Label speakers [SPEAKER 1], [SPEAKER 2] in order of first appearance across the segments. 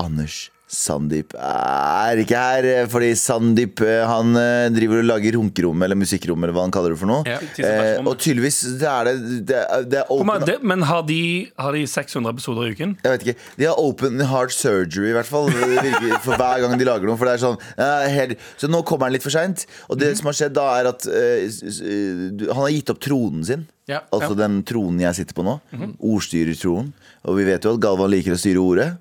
[SPEAKER 1] Anders, Sandeep er ikke her, fordi Sandeep eh, han eh, driver og lager hunkerom, eller musikkerom, eller hva han kaller det for noe.
[SPEAKER 2] Ja.
[SPEAKER 1] Eh, og tydeligvis, det er det Det er, det er
[SPEAKER 2] Hvor
[SPEAKER 1] open,
[SPEAKER 2] mange- det- Men har de, har de 600 episoder i uken?
[SPEAKER 1] jeg vet ikke, De har open heart surgery, i hvert fall. Det virker For hver gang de lager noe. For det er sånn eh, helt- Så nå kommer han litt for seint. Og
[SPEAKER 2] Mhm.
[SPEAKER 1] det som har skjedd da, er at eh, s- s- eh, du- han har gitt opp tronen sin.
[SPEAKER 2] Ja,
[SPEAKER 1] Altså
[SPEAKER 2] ja. Mhm.
[SPEAKER 1] den tronen jeg sitter på nå. Ordstyrertronen. Og vi vet jo at Galvan liker å styre ordet.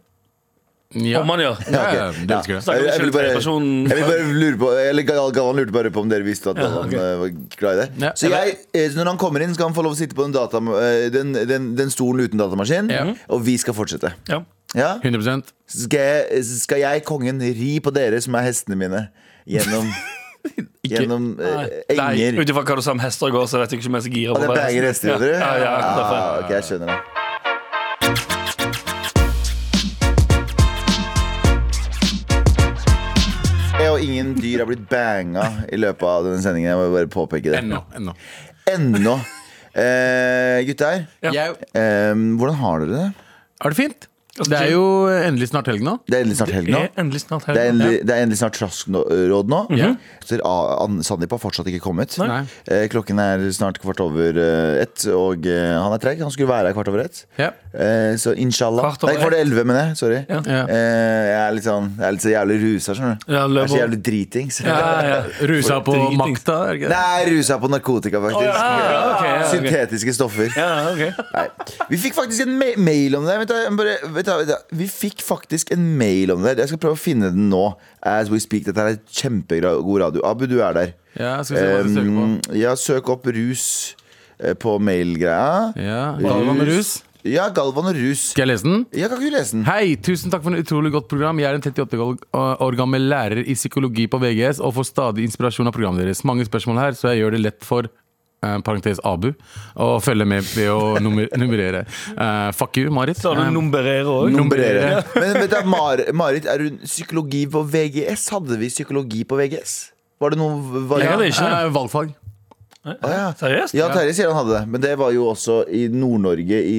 [SPEAKER 3] Ja.
[SPEAKER 2] Om man gjør.
[SPEAKER 3] Ja, ja, ja, det elsker jeg.
[SPEAKER 2] Snakker om
[SPEAKER 1] Jeg- jeg vil bare-
[SPEAKER 2] selvtillitspersonen.
[SPEAKER 1] Jeg vil bare lure på Eller Gal- Galvan lurte bare på om dere visste at Galvan
[SPEAKER 2] ok.
[SPEAKER 1] eh, var glad i det.
[SPEAKER 3] Ja,
[SPEAKER 1] så jeg, eh, når han kommer inn, skal han få lov å sitte på den, data, eh, den, den, den stolen uten datamaskin,
[SPEAKER 3] Ja.
[SPEAKER 1] og vi skal fortsette.
[SPEAKER 2] Ja.
[SPEAKER 1] Ja?
[SPEAKER 3] 100
[SPEAKER 1] Skal, jeg, skal jeg, kongen, ri på dere som er hestene mine gjennom, gjennom eh, enger?
[SPEAKER 2] Ut ifra hva du sa om hester i går, så vet jeg ikke om jeg er så gira
[SPEAKER 1] Og det
[SPEAKER 2] på
[SPEAKER 1] er
[SPEAKER 2] å være
[SPEAKER 1] banger
[SPEAKER 2] hest.
[SPEAKER 1] hester, gjør dere?
[SPEAKER 2] Ja, ja, ja, derfor.
[SPEAKER 1] Ah, ok, jeg skjønner det. Jeg og ingen dyr har blitt banga i løpet av denne sendingen. Jeg må bare påpeke det.
[SPEAKER 3] Ennå. ennå.
[SPEAKER 1] Ennå. Eh, gutter,
[SPEAKER 2] Ja.
[SPEAKER 3] Jeg
[SPEAKER 1] eh, hvordan har dere det?
[SPEAKER 3] har det fint.
[SPEAKER 2] Altså,
[SPEAKER 3] Det er jo endelig snart helg nå.
[SPEAKER 1] Det er endelig snart helg nå.
[SPEAKER 2] Er endelig snart helg.
[SPEAKER 1] Det er endelig, det er endelig snart traskråd nå.
[SPEAKER 3] Mhm.
[SPEAKER 1] Så A- An- Sandeep har fortsatt ikke kommet.
[SPEAKER 3] Nei.
[SPEAKER 1] Eh, klokken er snart kvart over eh, ett, og eh, han er treg. Han skulle være her kvart over ett.
[SPEAKER 3] Ja.
[SPEAKER 1] Eh, så inshallah
[SPEAKER 2] Kvart over
[SPEAKER 1] Nei, kvart over elleve, mener jeg. Sorry.
[SPEAKER 2] Ja.
[SPEAKER 3] Ja.
[SPEAKER 1] Eh, jeg, er litt sånn, jeg er litt så jævlig rusa, skjønner du.
[SPEAKER 2] Ja,
[SPEAKER 1] jeg er så
[SPEAKER 2] løper.
[SPEAKER 1] jævlig dritings.
[SPEAKER 2] Ja, ja.
[SPEAKER 3] Rusa på
[SPEAKER 2] Dritings.
[SPEAKER 3] makta. er det ikke det?
[SPEAKER 1] Nei, rusa på narkotika, faktisk.
[SPEAKER 2] ja, ok, ja, ok.
[SPEAKER 1] Syntetiske stoffer.
[SPEAKER 2] Ja, ok.
[SPEAKER 1] Nei. Vi fikk faktisk en ma mail om det. Vent, da, jeg må bare, vent, da, vent, da. Vi fikk faktisk en mail om det. Jeg skal prøve å finne den nå. As we speak. Dette her er kjempegod radio. Abu, du er der.
[SPEAKER 3] Ja, skal vi se hva du søker på.
[SPEAKER 1] Um, ja, søk opp rus eh, på mailgreia.
[SPEAKER 3] Ja. Galvan med rus.
[SPEAKER 1] Ja, Galvan og rus.
[SPEAKER 3] Skal jeg lese den?
[SPEAKER 1] Ja, kan ikke du lese den?
[SPEAKER 3] Hei, tusen takk for en utrolig godt program. Jeg er en 38 år år gammel lærer i psykologi på VGS og får stadig inspirasjon av programmet deres. Mange spørsmål her, så jeg gjør det lett for eh, parentes Abu å følge med ved å nummer, nummerere. Eh, fuck you, Marit.
[SPEAKER 2] Så har du
[SPEAKER 3] Eh,
[SPEAKER 2] numberere òg.
[SPEAKER 1] Nummerere. Men vet du, Mar Marit, er hun psykologi på VGS? Hadde vi psykologi på VGS? Var det noen
[SPEAKER 2] Jeg
[SPEAKER 1] variant?
[SPEAKER 2] hadde ikke det.
[SPEAKER 3] eh, valgfag.
[SPEAKER 1] Å, ja.
[SPEAKER 2] Seriøst?
[SPEAKER 1] ja, Terje sier han hadde det. Men det var jo også i Nord-Norge i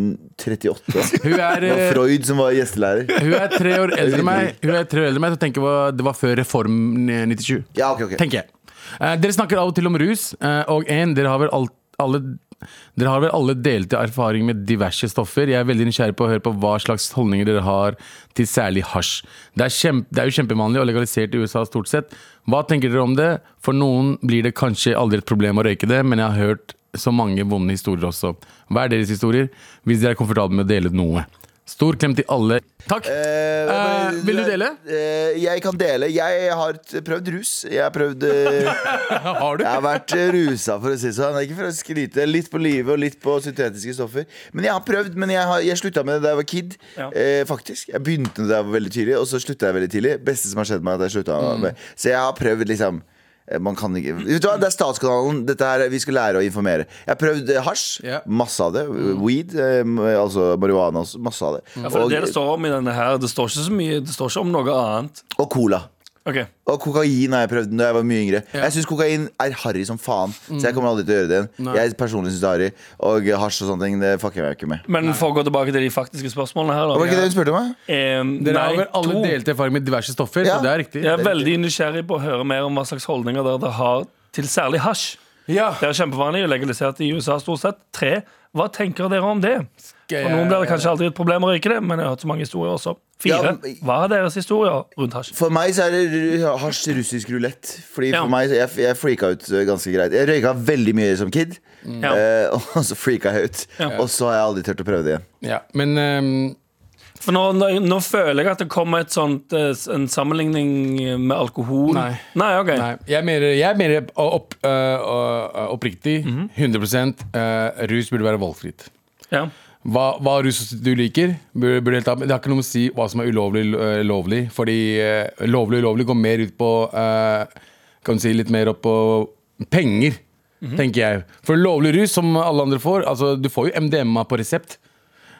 [SPEAKER 1] 1938.
[SPEAKER 3] Hun er,
[SPEAKER 1] Det var
[SPEAKER 3] eh,
[SPEAKER 1] Freud som var gjestelærer.
[SPEAKER 3] hun er tre år eldre enn meg. Hun er tre år eldre enn meg, så tenker jeg hva- Det var før Reform 97.
[SPEAKER 1] Ja, ok, ok.
[SPEAKER 3] tenker jeg. Eh, dere snakker av og til om rus, eh, og en, dere har vel alt, alle dere har vel alle delte erfaring med diverse stoffer. Jeg er veldig nysgjerrig på å høre på hva slags holdninger dere har til særlig hasj. Det er, kjempe, det er jo kjempevanlig og legalisert i USA stort sett. Hva tenker dere om det? For noen blir det kanskje aldri et problem å røyke det, men jeg har hørt så mange vonde historier også. Hva er deres historier? Hvis dere er komfortable med å dele noe. Stor klem til alle. Takk!
[SPEAKER 1] Eh,
[SPEAKER 3] Eh, vil du dele?
[SPEAKER 1] Eh, jeg kan dele. Jeg har t- prøvd rus. Jeg har prøvd eh,
[SPEAKER 3] har du?
[SPEAKER 1] Jeg har vært eh, rusa, for å si det sånn. Ikke for å skryte. Litt på livet og litt på syntetiske stoffer. Men jeg har prøvd. Men jeg, har, jeg slutta med det da jeg var kid.
[SPEAKER 2] Ja.
[SPEAKER 1] Eh, faktisk. Jeg begynte da jeg var veldig tidlig, og så slutta jeg veldig tidlig. Beste som har skjedd meg, er at jeg slutta
[SPEAKER 2] Mm.
[SPEAKER 1] med Så jeg har prøvd, liksom. eh, Man kan ikke Vet du hva, Det er Statskanalen. Dette her, Vi skal lære å informere. Jeg har prøvd eh, hasj.
[SPEAKER 3] Ja.
[SPEAKER 1] Masse av det. Weed, eh, altså marihuana også. Masse av det.
[SPEAKER 2] Mm. Ja, for det, er det
[SPEAKER 1] Og-
[SPEAKER 2] det står om i denne her, det står ikke så mye Det står ikke om noe annet.
[SPEAKER 1] og cola.
[SPEAKER 2] Ok
[SPEAKER 1] Og kokain har jeg prøvd da jeg var mye yngre. Jeg syns kokain er harry som faen, så
[SPEAKER 3] Mm.
[SPEAKER 1] jeg kommer aldri til å gjøre det igjen. Jeg personlig synes det er harry Og hasj og sånne ting, det fucker jeg meg ikke med.
[SPEAKER 2] Men for å gå tilbake til de faktiske spørsmålene her,
[SPEAKER 1] Var det
[SPEAKER 2] da.
[SPEAKER 1] ikke det hun spurte om? da?
[SPEAKER 2] Eh,
[SPEAKER 3] Dere
[SPEAKER 2] nei,
[SPEAKER 3] har vel alle
[SPEAKER 2] to.
[SPEAKER 3] delte erfaring med diverse stoffer,
[SPEAKER 1] Ja.
[SPEAKER 3] så det er riktig.
[SPEAKER 2] Jeg er veldig nysgjerrig på å høre mer om hva slags holdninger dere har til særlig hasj.
[SPEAKER 3] Ja.
[SPEAKER 2] Det er kjempevanlig, legalisert i USA stort sett. Tre, hva tenker dere om det? For noen blir det kanskje aldri et problem å røyke det, men jeg har hørt så mange historier også.
[SPEAKER 1] Ja,
[SPEAKER 2] Fire,
[SPEAKER 1] men-
[SPEAKER 2] hva er deres historier rundt hasj?
[SPEAKER 1] For meg så er det ru- hasj russisk rulett. Fordi
[SPEAKER 2] Ja.
[SPEAKER 1] for meg, jeg, jeg freaka ut eh, ganske greit. Jeg røyka veldig mye som kid,
[SPEAKER 3] Mm.
[SPEAKER 2] Ja.
[SPEAKER 1] eh, og så freaka jeg ut.
[SPEAKER 2] Ja.
[SPEAKER 1] Og så har jeg aldri turt å prøve det igjen.
[SPEAKER 3] Ja, men ehm,
[SPEAKER 2] For nå, nå, nå føler jeg at det kommer et sånt, eh, en sammenligning eh, med alkohol.
[SPEAKER 3] Nei.
[SPEAKER 2] Nei, ok.
[SPEAKER 3] nei, jeg er mer, jeg er mer opp, øh, øh, oppriktig. 100 øh, Rus burde være valgfritt.
[SPEAKER 2] Ja.
[SPEAKER 3] Hva, hva rus du liker, burde, burde helt av, det har ikke noe med å si hva som er ulovlig øh, lovlig. Fordi øh, lovlig ulovlig går mer ut på øh, Kan du si litt mer opp på penger, tenker jeg. For lovlig rus, som alle andre får Altså, du får jo MDMA på resept.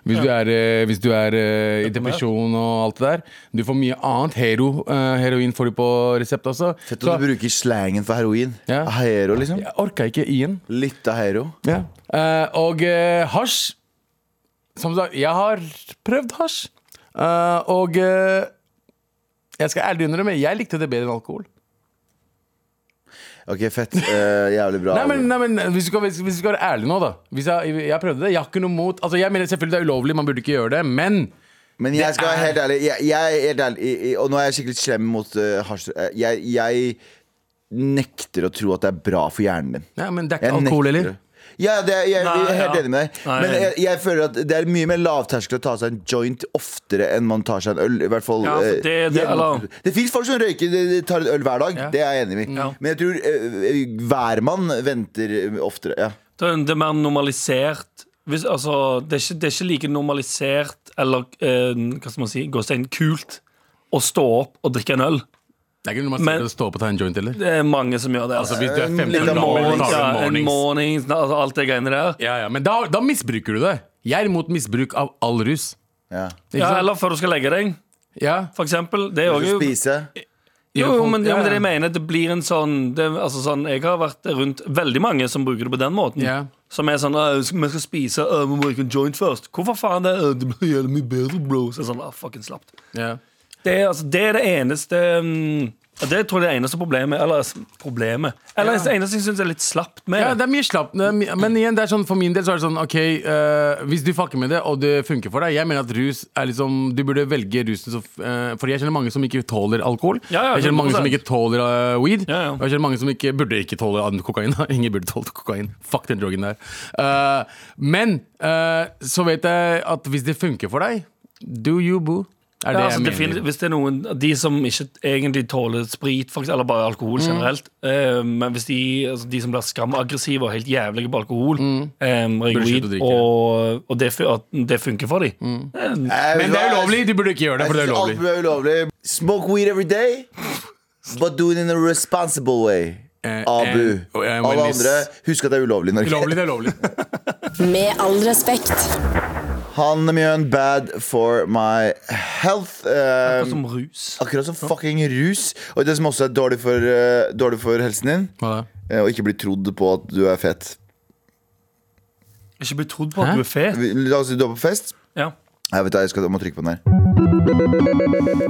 [SPEAKER 3] Hvis du er, eh, hvis du er eh, i depresjon og alt det der. Du får mye annet. Hero, eh, heroin får du på resept også.
[SPEAKER 1] Fett at du bruker slangen for heroin.
[SPEAKER 3] Ja.
[SPEAKER 1] Hero, liksom.
[SPEAKER 3] jeg orka ikke igjen.
[SPEAKER 1] Litt av hero.
[SPEAKER 3] Ja. Eh, og eh, hasj Som sagt, jeg har prøvd hasj. Eh, og eh, jeg skal ærlig innrømme, jeg likte det bedre enn alkohol.
[SPEAKER 1] Ok, fett. Eh, jævlig bra.
[SPEAKER 3] Nei, men, nei, men hvis, du skal, hvis, hvis du skal være ærlig nå, da. Hvis jeg, jeg prøvde det. Jeg har ikke noe mot Altså, jeg mener selvfølgelig det er ulovlig, man burde ikke gjøre det, men
[SPEAKER 1] Men jeg
[SPEAKER 3] Det
[SPEAKER 1] skal være
[SPEAKER 3] er-
[SPEAKER 1] helt ærlig, jeg, jeg er helt ærlig i- i- Og nå er jeg skikkelig slem mot uh, hasj eh, jeg, jeg nekter å tro at det er bra for hjernen din
[SPEAKER 3] Nei, men det er
[SPEAKER 1] Jeg
[SPEAKER 3] ikke alkohol
[SPEAKER 1] nekter
[SPEAKER 3] heller.
[SPEAKER 1] det. Ja, ja, det er, jeg, jeg er helt
[SPEAKER 2] Nei, ja.
[SPEAKER 1] enig med deg
[SPEAKER 2] Nei.
[SPEAKER 1] Men jeg, jeg føler at det er mye mer lavterskel Å ta seg en joint oftere enn man tar seg en øl I hvert fall
[SPEAKER 2] Ja, for
[SPEAKER 1] eh,
[SPEAKER 2] det- det-
[SPEAKER 1] hjemme.
[SPEAKER 2] eller-
[SPEAKER 1] Det finnes folk som røyker de, de tar en øl hver dag
[SPEAKER 3] Ja.
[SPEAKER 1] Det er jeg enig i
[SPEAKER 2] Ja.
[SPEAKER 1] Men jeg tror eh, hver mann venter oftere ja.
[SPEAKER 2] Det er, det er mer normalisert Hvis, altså, det, er ikke, det er ikke like normalisert eller eh, hva skal man si, gåstein, kult å stå opp og drikke en øl.
[SPEAKER 3] Det er ikke noe man
[SPEAKER 2] Men-
[SPEAKER 3] sier å stå opp og ta en joint heller.
[SPEAKER 2] Det er mange som gjør det. Altså.
[SPEAKER 3] Altså, hvis du er
[SPEAKER 1] En
[SPEAKER 3] 15
[SPEAKER 1] liten
[SPEAKER 3] år
[SPEAKER 2] en
[SPEAKER 3] gammel,
[SPEAKER 2] morning,
[SPEAKER 3] tar
[SPEAKER 2] ja,
[SPEAKER 3] du
[SPEAKER 2] en
[SPEAKER 3] en mornings.
[SPEAKER 2] mornings, altså, alt det greiene der.
[SPEAKER 3] Ja, ja, men da, da misbruker du det. Jeg er imot misbruk av all rus.
[SPEAKER 1] Ja.
[SPEAKER 3] Ikke
[SPEAKER 2] Ja,
[SPEAKER 3] sant?
[SPEAKER 2] eller før du skal legge deg,
[SPEAKER 3] ja.
[SPEAKER 2] for eksempel. Det er
[SPEAKER 1] Du
[SPEAKER 2] også,
[SPEAKER 1] skal spise
[SPEAKER 2] jo, jo, men, ja, men det er det
[SPEAKER 3] Ja.
[SPEAKER 2] jeg mener. Det blir en sånn, det, er- altså, sånn Jeg har vært rundt veldig mange som bruker det på den måten.
[SPEAKER 3] Ja.
[SPEAKER 2] Som er sånn «Åh, Vi skal spise, øh, vi må ikke en joint først. Hvorfor faen det? «Åh, Det blir jævlig mye bedre, bro. Så er det sånn, ah, fucking slapt.
[SPEAKER 3] Ja.
[SPEAKER 2] Det er, altså, det er det eneste mm, Det tror jeg er det eneste problemet. Eller s- problemet Eller det eneste jeg syns er litt slapt med
[SPEAKER 3] Ja, det er mye slapp det er mye- Men igjen, det er sånn, for min del så er det sånn Ok, eh, hvis du fucker med det Og det funker for deg Jeg mener at rus er liksom Du burde velge rusen så, eh, Fordi jeg kjenner mange som ikke tåler alkohol
[SPEAKER 2] Ja, ja,
[SPEAKER 3] Jeg kjenner mange som
[SPEAKER 2] 100%.
[SPEAKER 3] ikke tåler eh, weed
[SPEAKER 2] Ja, ja.
[SPEAKER 3] Og jeg kjenner mange som ikke Burde ikke tåle annen kokain Ingen burde tåle kokain Fuck den drogen der Eh, Men eh, Så vet jeg at hvis det funker for deg Do you boo Er det
[SPEAKER 2] Ja, altså,
[SPEAKER 3] jeg
[SPEAKER 2] det
[SPEAKER 3] mener
[SPEAKER 2] finnes- hvis det er noen De som ikke egentlig tåler sprit, for eksempel, eller bare
[SPEAKER 3] Mm.
[SPEAKER 2] alkohol generelt eh, Men hvis de, altså, de som blir skamaggressive og helt jævlige på alkohol, eh, røyker
[SPEAKER 3] Mm. Burde slutte
[SPEAKER 2] weed,
[SPEAKER 3] å drikke. Mm.
[SPEAKER 2] og, og det, fu- at det funker for dem eh,
[SPEAKER 3] Men det altså, er ulovlig Du burde ikke gjøre det For det er
[SPEAKER 1] Jeg synes Alt
[SPEAKER 3] ulovlig
[SPEAKER 1] er ulovlig. Smoke weed every day, but do it in a responsible way.
[SPEAKER 3] Eh,
[SPEAKER 1] Abu.
[SPEAKER 3] eh, og jeg må
[SPEAKER 1] Alle
[SPEAKER 3] miss-
[SPEAKER 1] andre, husk at det er ulovlig i Norge.
[SPEAKER 3] Ulovlig, det er lovlig
[SPEAKER 4] Med all respekt.
[SPEAKER 1] Han Mjøen, bad for my health. Eh,
[SPEAKER 2] som rus.
[SPEAKER 1] akkurat som fucking rus. Og det som også er dårlig for, eh, dårlig for helsen din,
[SPEAKER 3] Hva da?
[SPEAKER 1] eh, å ikke bli trodd på at du er fet.
[SPEAKER 2] Ikke bli trodd på at
[SPEAKER 3] Hæ?
[SPEAKER 2] du er fet.
[SPEAKER 1] Vi- La oss si du er på fest.
[SPEAKER 2] Ja.
[SPEAKER 1] Jeg vet det, jeg skal jeg må trykke på den her.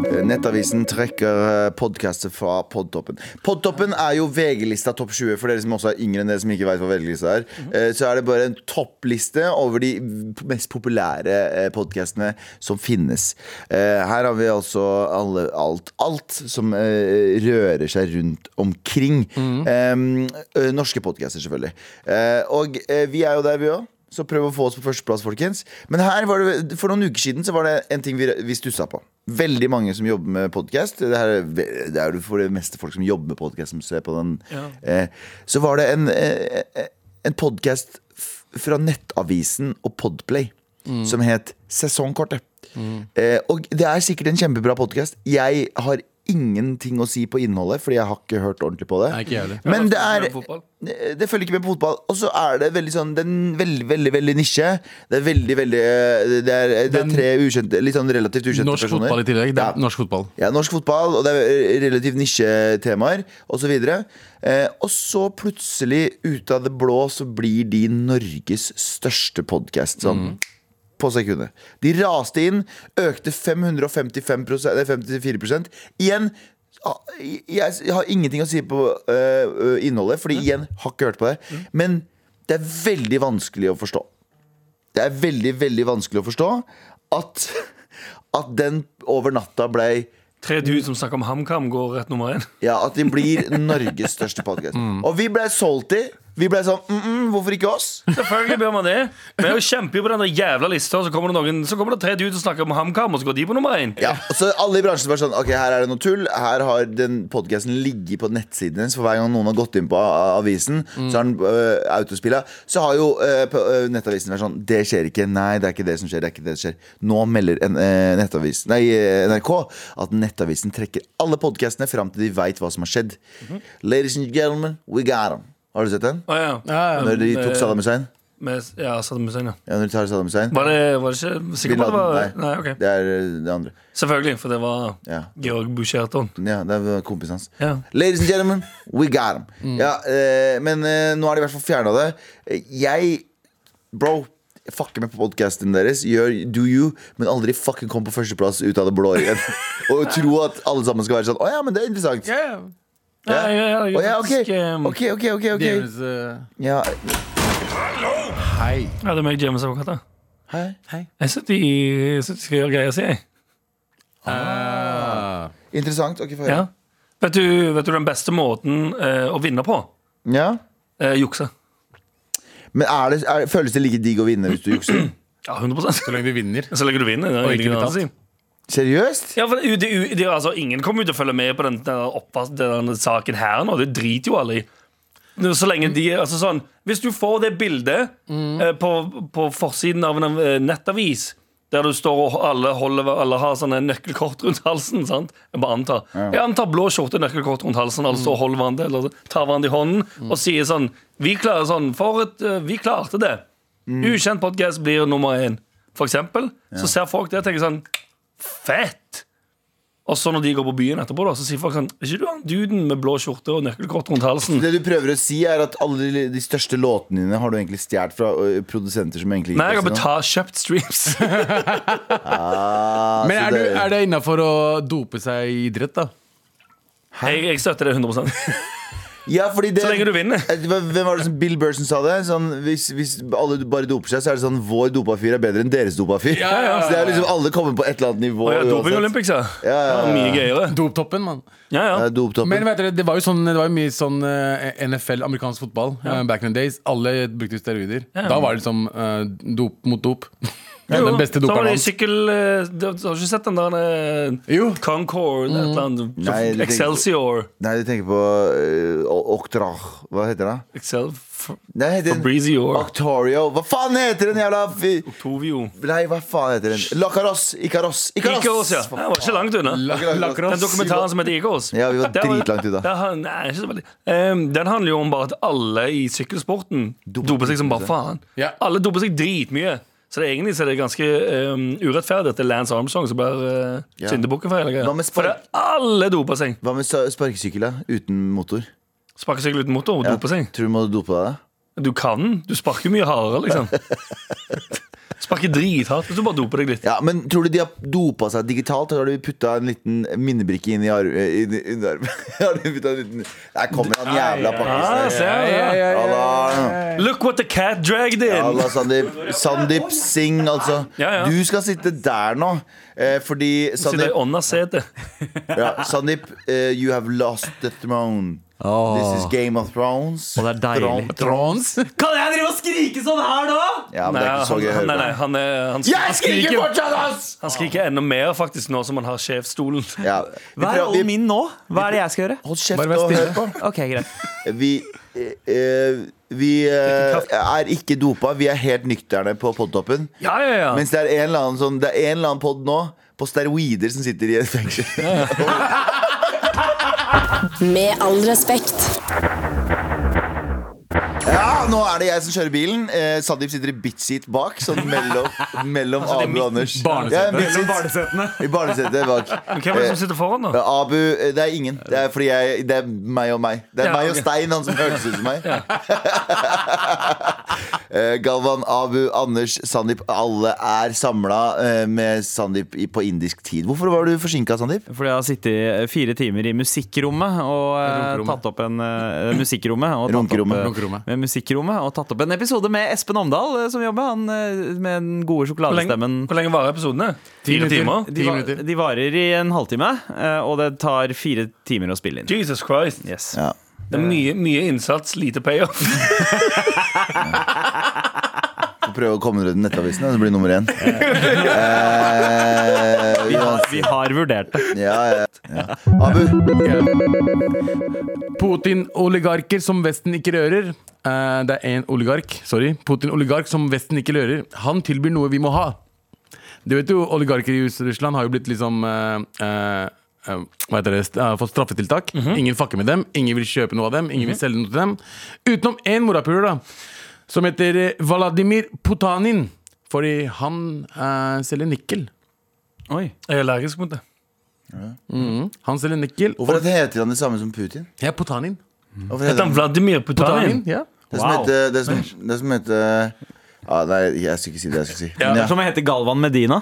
[SPEAKER 1] Eh, Nettavisen trekker eh, podcaster fra Podtoppen. Podtoppen er jo VG-lista topp 20, for dere som også er yngre enn dere som ikke vet hva VG-lista er. Eh, Så er det bare en toppliste over de mest populære eh, podcastene som finnes. Eh, Her har vi altså alle, alt, alt som eh, rører seg rundt omkring. Eh, ø, Norske podcaster, selvfølgelig. Eh, Og eh, vi er jo der, vi òg. Så prøv å få oss på førsteplass, folkens. Men her var det, for noen uker siden så var det en ting vi, vi stussa på. Veldig mange som jobber med podkast. Det, her er ve- det er jo for det meste folk som jobber med podkast, som ser på den. Eh, så var det en, eh, eh, en podkast fra Nettavisen og Podplay
[SPEAKER 3] Mm.
[SPEAKER 1] som het Sesongkortet. Eh, og det er sikkert en kjempebra podkast. Jeg har ingenting å si på innholdet, fordi jeg har ikke hørt ordentlig på det.
[SPEAKER 3] Nei, ikke jeg heller.
[SPEAKER 1] Men det
[SPEAKER 2] Jeg har ikke hørt om
[SPEAKER 1] er
[SPEAKER 2] fotball.
[SPEAKER 1] det følger ikke med på fotball. Og så er det veldig sånn Den veldig, veldig veldig nisje. Det er veldig, veldig eh, Det er, det er
[SPEAKER 3] Den-
[SPEAKER 1] tre ukjente, litt sånn relativt ukjente
[SPEAKER 3] Norsk
[SPEAKER 1] personer.
[SPEAKER 3] fotball i tillegg Det
[SPEAKER 1] Ja.
[SPEAKER 3] er norsk fotball
[SPEAKER 1] Ja, norsk fotball, og det er eh, relativt nisjetemaer osv. Eh, og så plutselig, ut av det blå, så blir de Norges største podkast. Sånn på sekundet. De raste inn, økte 555 prosent- nei, 54 Igjen, ah, jeg, jeg har ingenting å si på eh, innholdet, Fordi igjen, har ikke hørt på det. Men det er veldig vanskelig å forstå. Det er veldig, veldig vanskelig å forstå at, at den over natta blei
[SPEAKER 2] Tre du som snakker om HamKam, går rett nummer én.
[SPEAKER 1] ja, at de blir Norges største podcast Og vi ble solgt i Vi ble sånn, mm -mm, hvorfor ikke oss?
[SPEAKER 2] Selvfølgelig bør man det. Vi er jo kjemper jo på den der jævla lista, og så kommer det noen Så kommer det tre du som snakker om HamKam, og så går de på nummer én.
[SPEAKER 1] Ja, og så alle i bransjen var sånn, ok, her er det noe tull Her har den podcasten ligget på nettsiden hennes For hver gang noen har gått inn på a- avisen Så har den øh, autospillet Så har jo øh, på, øh, nettavisen vært sånn Det skjer ikke, nei, det er ikke det som skjer, det er ikke det som skjer Nå melder en, øh, nettavisen, nei, øh, NRK At nettavisen trekker alle podcastene Frem til de vet hva som har skjedd Ladies and gentlemen, we got them Har du sett den?
[SPEAKER 2] Å, ja. eh,
[SPEAKER 3] Ja,
[SPEAKER 2] Um,
[SPEAKER 3] ja.
[SPEAKER 2] øh,
[SPEAKER 1] Når de tok Saddam Hussein
[SPEAKER 2] Med, ja, Saddam Hussein, ja.
[SPEAKER 1] Ja, når du tar Saddam Hussein.
[SPEAKER 2] Var det, var det ikke sikker
[SPEAKER 1] Bin
[SPEAKER 2] på at det var
[SPEAKER 1] Laden,
[SPEAKER 2] Nei, ok.
[SPEAKER 1] Det er eh, det andre.
[SPEAKER 2] Selvfølgelig, for det var
[SPEAKER 1] Ja.
[SPEAKER 2] Georg Bucherton.
[SPEAKER 1] Ja, det er eh, kompisen hans.
[SPEAKER 2] Ja.
[SPEAKER 1] Ladies and gentlemen, we got him. Ja, eh, men eh, nå har de i hvert fall fjerna det. Eh, Jeg Bro, fucker med på podkasten deres. Gjør do you, men aldri fucking kom på førsteplass ut av det blå igjen. Og tro at alle sammen skal være sånn Å ja, men det er interessant.
[SPEAKER 2] Ja, ja, ja, jeg
[SPEAKER 1] Å ja, ok,
[SPEAKER 2] faktisk, eh,
[SPEAKER 1] ok, ok. ok, ok
[SPEAKER 3] James, eh,
[SPEAKER 1] Ja,
[SPEAKER 3] Hei.
[SPEAKER 2] Ja, det er meg, James Avokata.
[SPEAKER 1] Hei.
[SPEAKER 2] Jeg syns de, jeg synes de skal gjøre greier, sier jeg.
[SPEAKER 3] Ah.
[SPEAKER 1] Interessant. Ok, få
[SPEAKER 2] Ja.
[SPEAKER 1] høre.
[SPEAKER 2] Vet, du, vet du den beste måten eh, å vinne på?
[SPEAKER 1] Ja.
[SPEAKER 2] Eh, jukse.
[SPEAKER 1] Men er det, er, føles det like digg å vinne hvis du jukser?
[SPEAKER 2] Ja, 100
[SPEAKER 3] Så lenge du vinner.
[SPEAKER 2] Så lenge du vinner. Det
[SPEAKER 3] Og
[SPEAKER 2] er
[SPEAKER 3] ikke
[SPEAKER 2] ingen
[SPEAKER 3] blir
[SPEAKER 2] annen
[SPEAKER 3] tatt.
[SPEAKER 2] sin.
[SPEAKER 1] Seriøst?
[SPEAKER 2] Ja, for det, det, det, altså, ingen kommer jo til å følge med på den, den, oppvask- den saken her nå. Det driter jo alle i. Nå, Så lenge de, altså sånn Hvis du får det bildet eh, på, på forsiden av en av- eh, nettavis der du står og alle, holder, alle har sånne nøkkelkort rundt halsen. sant? Jeg bare antar. Jeg antar blå skjorte, nøkkelkort rundt halsen. Alle står og holder hverandre eller tar hverandre i hånden og sier sånn Vi klarer sånn, for et, eh, vi klarte det. Ukjent podcast blir nummer én, for eksempel. Så ser folk det og tenker sånn Fett! Og så når de går på byen etterpå, da, så sier folk sånn Er ikke du han duden med blå skjorte og nøkkelkort rundt halsen?
[SPEAKER 1] Det du prøver å si, er at alle de, de største låtene dine har du egentlig stjålet fra ø, produsenter som egentlig ikke
[SPEAKER 2] Nei, jeg har
[SPEAKER 1] passer noe.
[SPEAKER 2] betalt, kjøpt streams.
[SPEAKER 1] Ah, så
[SPEAKER 3] Men er, du, er Altså, det innafor å dope seg i idrett, da?
[SPEAKER 2] Jeg, jeg støtter det 100
[SPEAKER 1] Ja, fordi det
[SPEAKER 2] Så lenge du vinner.
[SPEAKER 1] Eh, Hvem var det som Bill Burson sa det? Sånn, hvis, hvis alle bare doper seg, så er det sånn Vår dopa fyr er bedre enn deres dopa fyr.
[SPEAKER 3] Ja, ja, ja.
[SPEAKER 1] Så det er liksom alle kommer på et eller annet nivå.
[SPEAKER 2] Og jeg er doping
[SPEAKER 1] uansett.
[SPEAKER 2] Olympics, ja.
[SPEAKER 1] Ja, ja, ja.
[SPEAKER 2] Det er Mye gøyere.
[SPEAKER 3] Doptoppen, mann.
[SPEAKER 2] Ja,
[SPEAKER 1] Ja,
[SPEAKER 2] ja.
[SPEAKER 1] doptoppen.
[SPEAKER 3] Men vet dere, det var jo sånn, det var jo mye sånn eh, NFL, amerikansk fotball, eh, back in the days. Alle brukte jo steroider. Da var det liksom eh, dop mot dop.
[SPEAKER 2] Jo,
[SPEAKER 3] Den beste
[SPEAKER 2] Så var
[SPEAKER 3] doperen
[SPEAKER 2] det i
[SPEAKER 3] hans.
[SPEAKER 2] sykkel eh, Du du har ikke sett den der eh,
[SPEAKER 3] Jo.
[SPEAKER 2] Concord, et eller annet.
[SPEAKER 1] Nei, det tenker-
[SPEAKER 2] Excelsior.
[SPEAKER 1] Nei, du tenker på uh, Oktrach. Hva heter det?
[SPEAKER 2] Excel... F-
[SPEAKER 1] Nei, det heter
[SPEAKER 2] Breezy or
[SPEAKER 1] Octorio. Hva faen heter den jævla fy-
[SPEAKER 2] Tovio.
[SPEAKER 1] Nei, hva faen heter den? Lacaros. Ikaros. Ikaros.
[SPEAKER 2] Ikke oss, ja. Det var ikke langt unna.
[SPEAKER 3] La-
[SPEAKER 2] Den
[SPEAKER 3] Lacrosse.
[SPEAKER 2] dokumentaren som heter Eagles.
[SPEAKER 1] Ja, vi var
[SPEAKER 2] Der
[SPEAKER 1] dritlangt ut da.
[SPEAKER 2] der har- nei, ikke så veldig. Ehm, den handler jo om bare at alle i sykkelsporten
[SPEAKER 1] Doper
[SPEAKER 2] doper seg som bare
[SPEAKER 1] seg.
[SPEAKER 2] faen.
[SPEAKER 3] Ja.
[SPEAKER 2] Alle doper seg dritmye. Så det er egentlig så er det ganske ehm, urettferdig at det er Lance Armstrong som blir uh,
[SPEAKER 1] Ja.
[SPEAKER 2] syndebukken for hele
[SPEAKER 1] Hva med
[SPEAKER 2] greia.
[SPEAKER 1] spark-
[SPEAKER 2] For det er alle doper seg.
[SPEAKER 1] Hva med sa- sparkesykkel da? uten motor?
[SPEAKER 2] Sparkesykkel uten motor,
[SPEAKER 1] Ja,
[SPEAKER 2] doper seg.
[SPEAKER 1] Tror du må dope deg? da?
[SPEAKER 2] Du kan. Du sparker mye hardere, liksom. Sparker drithardt hvis du bare doper deg litt.
[SPEAKER 1] Ja, men Tror du de har dopa seg digitalt? Eller har de putta en liten minnebrikke inn i armen? Har de puttet en liten Der kommer han jævla
[SPEAKER 2] Ah,
[SPEAKER 1] pakkisen.
[SPEAKER 2] se her, ja.
[SPEAKER 1] Halla,
[SPEAKER 2] Look what the cat dragged in!
[SPEAKER 1] Halla, Sandeep. Sandeep Singh, altså.
[SPEAKER 2] Ja, ja.
[SPEAKER 1] Du skal sitte der nå, eh, fordi
[SPEAKER 2] Sitter i
[SPEAKER 1] Sandeep,
[SPEAKER 2] ånda setet.
[SPEAKER 1] ja, Sandeep eh, you have lost the throne. This is Game of Thrones.
[SPEAKER 5] Og det er deilig.
[SPEAKER 1] Thron-
[SPEAKER 3] Trons.
[SPEAKER 5] Kan jeg drive og skrike sånn her nå?!
[SPEAKER 1] Ja, men det er ikke så
[SPEAKER 2] han,
[SPEAKER 1] gøy å høre
[SPEAKER 2] han, nei,
[SPEAKER 1] på.
[SPEAKER 2] nei, han, er- han, han
[SPEAKER 1] Jeg skriker fortsatt, ass!
[SPEAKER 2] Han skriker enda mer faktisk nå som han har sjefsstolen.
[SPEAKER 1] Ja. Vi
[SPEAKER 5] Hva er
[SPEAKER 1] prøver- vi-
[SPEAKER 5] all min nå? Hva er det jeg skal gjøre?
[SPEAKER 1] Hold kjeft
[SPEAKER 3] Bare vær
[SPEAKER 1] og hør
[SPEAKER 3] stille.
[SPEAKER 1] på.
[SPEAKER 5] Ok, greit
[SPEAKER 1] Vi, eh, eh, vi eh, er ikke dopa, vi er helt nykterne på podtoppen.
[SPEAKER 2] Ja, ja, ja.
[SPEAKER 1] Mens det er en eller annen, sånn, det er en eller annen pod nå på steroider som sitter i et fengsel.
[SPEAKER 6] Med all respekt.
[SPEAKER 1] Ja, nå er det jeg som kjører bilen. Eh, Sandeep sitter i bitseat bak, sånn mellom, mellom
[SPEAKER 2] Altså,
[SPEAKER 1] Abu og Anders.
[SPEAKER 3] barnesete.
[SPEAKER 1] Ja, midtseat. I barnesetet bak.
[SPEAKER 2] Men hvem er det som
[SPEAKER 1] Eh,
[SPEAKER 2] sitter foran nå?
[SPEAKER 1] ja, Abu, eh, det er ingen. Det er fordi jeg Det er meg og meg. Det er
[SPEAKER 2] Ja,
[SPEAKER 1] meg og
[SPEAKER 2] ok.
[SPEAKER 1] Stein, han som høres ut som meg. Eh, Galvan, Abu, Anders, Sandeep. Alle er samla eh, med Sandeep i- på indisk tid. Hvorfor var du forsinka, Sandeep?
[SPEAKER 5] Fordi jeg har sittet i eh, fire timer i musikkrommet og eh,
[SPEAKER 3] Runkerommet.
[SPEAKER 5] tatt opp en eh, Musikkrommet og tatt opp,
[SPEAKER 1] Runkerommet.
[SPEAKER 5] eh,
[SPEAKER 3] Runkerommet.
[SPEAKER 5] med Musikkrommet og tatt opp en episode med Espen Omdal eh, som jobber. Han eh, med den gode
[SPEAKER 2] Hvor lenge,
[SPEAKER 5] sjokoladestemmen.
[SPEAKER 2] hvor lenge varer episodene? Fire
[SPEAKER 3] minutter.
[SPEAKER 2] timer?
[SPEAKER 5] De,
[SPEAKER 3] Ti
[SPEAKER 5] va-
[SPEAKER 3] minutter.
[SPEAKER 5] de varer i en halvtime, eh, og det tar fire timer å spille inn.
[SPEAKER 2] Jesus Christ.
[SPEAKER 5] Yes.
[SPEAKER 1] Ja.
[SPEAKER 2] Det er mye, mye innsats, lite payoff.
[SPEAKER 1] Får prøve å komme dere til Nettavisen, og så blir det nummer én. Eh,
[SPEAKER 5] Vi har, vi har vurdert det.
[SPEAKER 1] ja, ja, ja. Abu,
[SPEAKER 3] Putin-oligarker som Vesten ikke rører. Eh, det er én oligark sorry, Putin-oligark som Vesten ikke rører. Han tilbyr noe vi må ha. Du vet jo, Oligarker i Russland har jo blitt liksom eh, eh, eh, hva heter det, st- eh, fått straffetiltak.
[SPEAKER 1] Mhm.
[SPEAKER 3] Ingen fucker med dem, ingen vil kjøpe noe av dem. Ingen vil selge noe til dem Utenom én morapuler, da. som heter eh, Vladimir Potanin. Fordi han eh, selger nikkel.
[SPEAKER 5] Oi.
[SPEAKER 2] Jeg er allergisk mot det.
[SPEAKER 3] Han selger nikkel.
[SPEAKER 1] Mhm. Hvorfor heter han det samme som Putin?
[SPEAKER 3] Ja, Potanin.
[SPEAKER 1] Hvorfor
[SPEAKER 2] Heter han Vladimir Putanin?
[SPEAKER 3] Potanin, ja.
[SPEAKER 1] Det som
[SPEAKER 2] Wow.
[SPEAKER 1] heter Det som, det som heter ja, Nei, jeg skal ikke si det jeg skal si.
[SPEAKER 2] Ja,
[SPEAKER 1] Men ja,
[SPEAKER 5] Som heter Galvan Medina.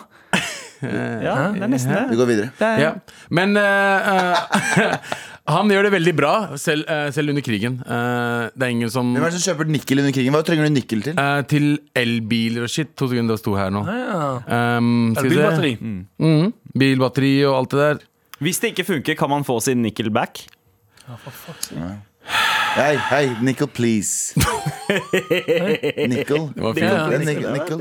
[SPEAKER 5] Ja, det er nesten
[SPEAKER 2] sånn-
[SPEAKER 5] det.
[SPEAKER 1] vi går videre.
[SPEAKER 5] det er,
[SPEAKER 3] Ja. Men eh, eh, han gjør det veldig bra, selv, eh, selv under krigen. Eh, det er ingen som
[SPEAKER 1] Hvem er det som kjøper nikkel under krigen? Hva trenger du nikkel til?
[SPEAKER 3] Eh, Til elbiler og shit. To sekunder, det sto her nå.
[SPEAKER 2] Ja.
[SPEAKER 3] Um, skal vi se.
[SPEAKER 2] Elbilbatteri.
[SPEAKER 5] Mm.
[SPEAKER 3] Mhm. Bilbatteri og alt det der.
[SPEAKER 5] Hvis det ikke funker, kan man få sin nickel back.
[SPEAKER 1] Hei, hei, nikkel, please. Nikkel.
[SPEAKER 3] var fint.
[SPEAKER 1] Nikkel, det er nikkel, nikkel.